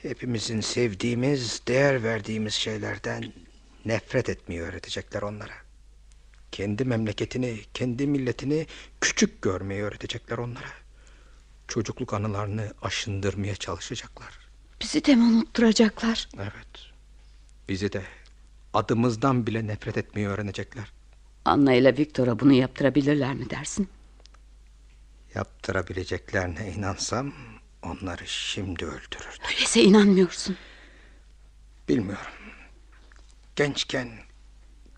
[SPEAKER 3] Hepimizin sevdiğimiz, değer verdiğimiz şeylerden nefret etmeyi öğretecekler onlara. Kendi memleketini, kendi milletini küçük görmeyi öğretecekler onlara. Çocukluk anılarını aşındırmaya çalışacaklar.
[SPEAKER 1] Bizi de mi unutturacaklar?
[SPEAKER 3] Evet. Bizi de adımızdan bile nefret etmeyi öğrenecekler.
[SPEAKER 1] Anna ile Viktor'a bunu yaptırabilirler mi dersin?
[SPEAKER 3] Yaptırabileceklerine inansam onları şimdi öldürür.
[SPEAKER 1] Öyleyse inanmıyorsun.
[SPEAKER 3] Bilmiyorum. Gençken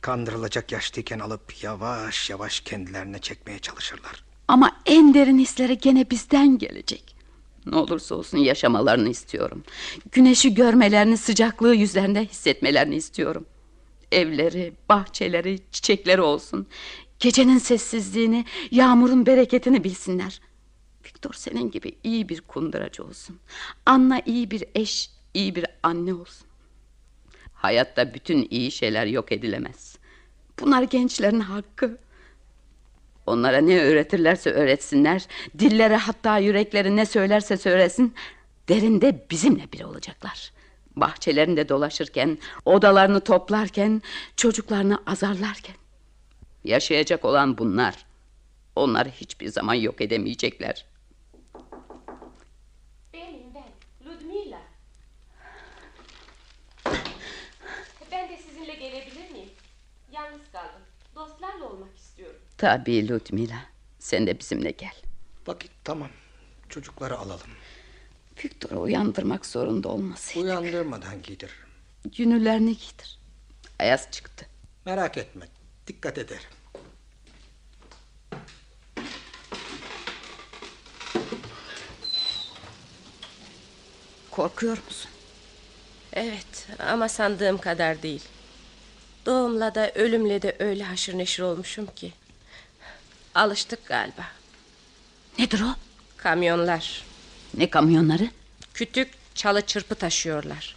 [SPEAKER 3] kandırılacak yaştayken alıp yavaş yavaş kendilerine çekmeye çalışırlar.
[SPEAKER 1] Ama en derin hisleri gene bizden gelecek. Ne olursa olsun yaşamalarını istiyorum. Güneşi görmelerini, sıcaklığı yüzlerinde hissetmelerini istiyorum. Evleri, bahçeleri, çiçekleri olsun. Gecenin sessizliğini, yağmurun bereketini bilsinler. Viktor senin gibi iyi bir kunduracı olsun. Anna iyi bir eş, iyi bir anne olsun. Hayatta bütün iyi şeyler yok edilemez. Bunlar gençlerin hakkı. Onlara ne öğretirlerse öğretsinler, dillere hatta yürekleri ne söylerse söylesin, derinde bizimle bir olacaklar. Bahçelerinde dolaşırken, odalarını toplarken, çocuklarını azarlarken. Yaşayacak olan bunlar. Onları hiçbir zaman yok edemeyecekler.
[SPEAKER 7] Benim ben Ludmila. E, Ben de sizinle gelebilir miyim? Yalnız kaldım. Dostlarla olmak istiyorum.
[SPEAKER 1] Tabii Ludmila, sen de bizimle gel.
[SPEAKER 3] Vakit tamam. Çocukları alalım.
[SPEAKER 1] Viktor'u uyandırmak zorunda olmasın.
[SPEAKER 3] Uyandırmadan giydiririm.
[SPEAKER 1] Günülerini giydir. Ayaz çıktı.
[SPEAKER 3] Merak etme. Dikkat ederim.
[SPEAKER 1] Korkuyor musun?
[SPEAKER 7] Evet ama sandığım kadar değil. Doğumla da ölümle de öyle haşır neşir olmuşum ki. Alıştık galiba.
[SPEAKER 1] Nedir o?
[SPEAKER 7] Kamyonlar.
[SPEAKER 1] Ne kamyonları?
[SPEAKER 7] Kütük çalı çırpı taşıyorlar.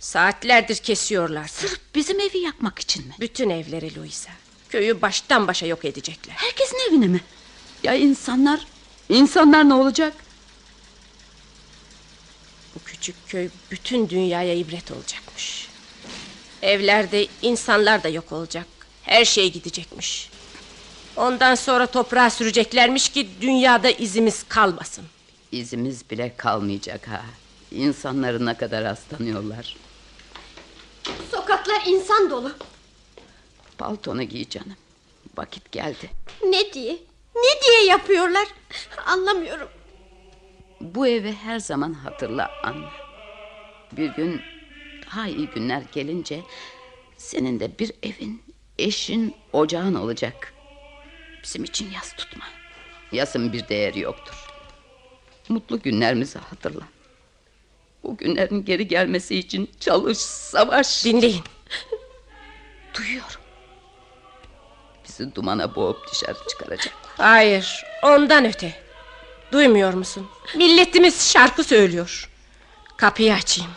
[SPEAKER 7] Saatlerdir kesiyorlar. Sırf
[SPEAKER 1] bizim evi yakmak için mi?
[SPEAKER 7] Bütün evleri Luisa. Köyü baştan başa yok edecekler.
[SPEAKER 1] Herkesin evine mi? Ya insanlar? İnsanlar ne olacak?
[SPEAKER 7] Bu küçük köy bütün dünyaya ibret olacakmış. Evlerde insanlar da yok olacak. Her şey gidecekmiş. Ondan sonra toprağa süreceklermiş ki dünyada izimiz kalmasın.
[SPEAKER 1] İzimiz bile kalmayacak ha. İnsanları ne kadar hastanıyorlar.
[SPEAKER 5] Sokaklar insan dolu.
[SPEAKER 1] Paltonu giy canım. Vakit geldi.
[SPEAKER 5] Ne diye? Ne diye yapıyorlar? Anlamıyorum.
[SPEAKER 1] Bu evi her zaman hatırla anne. Bir gün daha iyi günler gelince senin de bir evin, eşin, ocağın olacak. Bizim için yas tutma. Yasın bir değeri yoktur. Mutlu günlerimizi hatırla. Bu günlerin geri gelmesi için çalış, savaş.
[SPEAKER 7] Dinleyin.
[SPEAKER 1] Duyuyorum. Bizi dumana boğup dışarı çıkaracak.
[SPEAKER 7] Hayır, ondan öte. Duymuyor musun? Milletimiz şarkı söylüyor. Kapıyı açayım.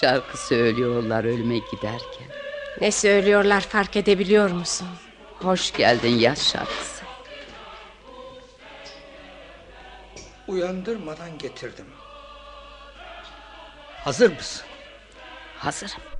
[SPEAKER 1] Şarkı söylüyorlar ölüme giderken.
[SPEAKER 7] Ne söylüyorlar fark edebiliyor musun?
[SPEAKER 1] Hoş geldin yaz şarkısı.
[SPEAKER 3] Uyandırmadan getirdim. Hazır mısın?
[SPEAKER 1] Hazırım.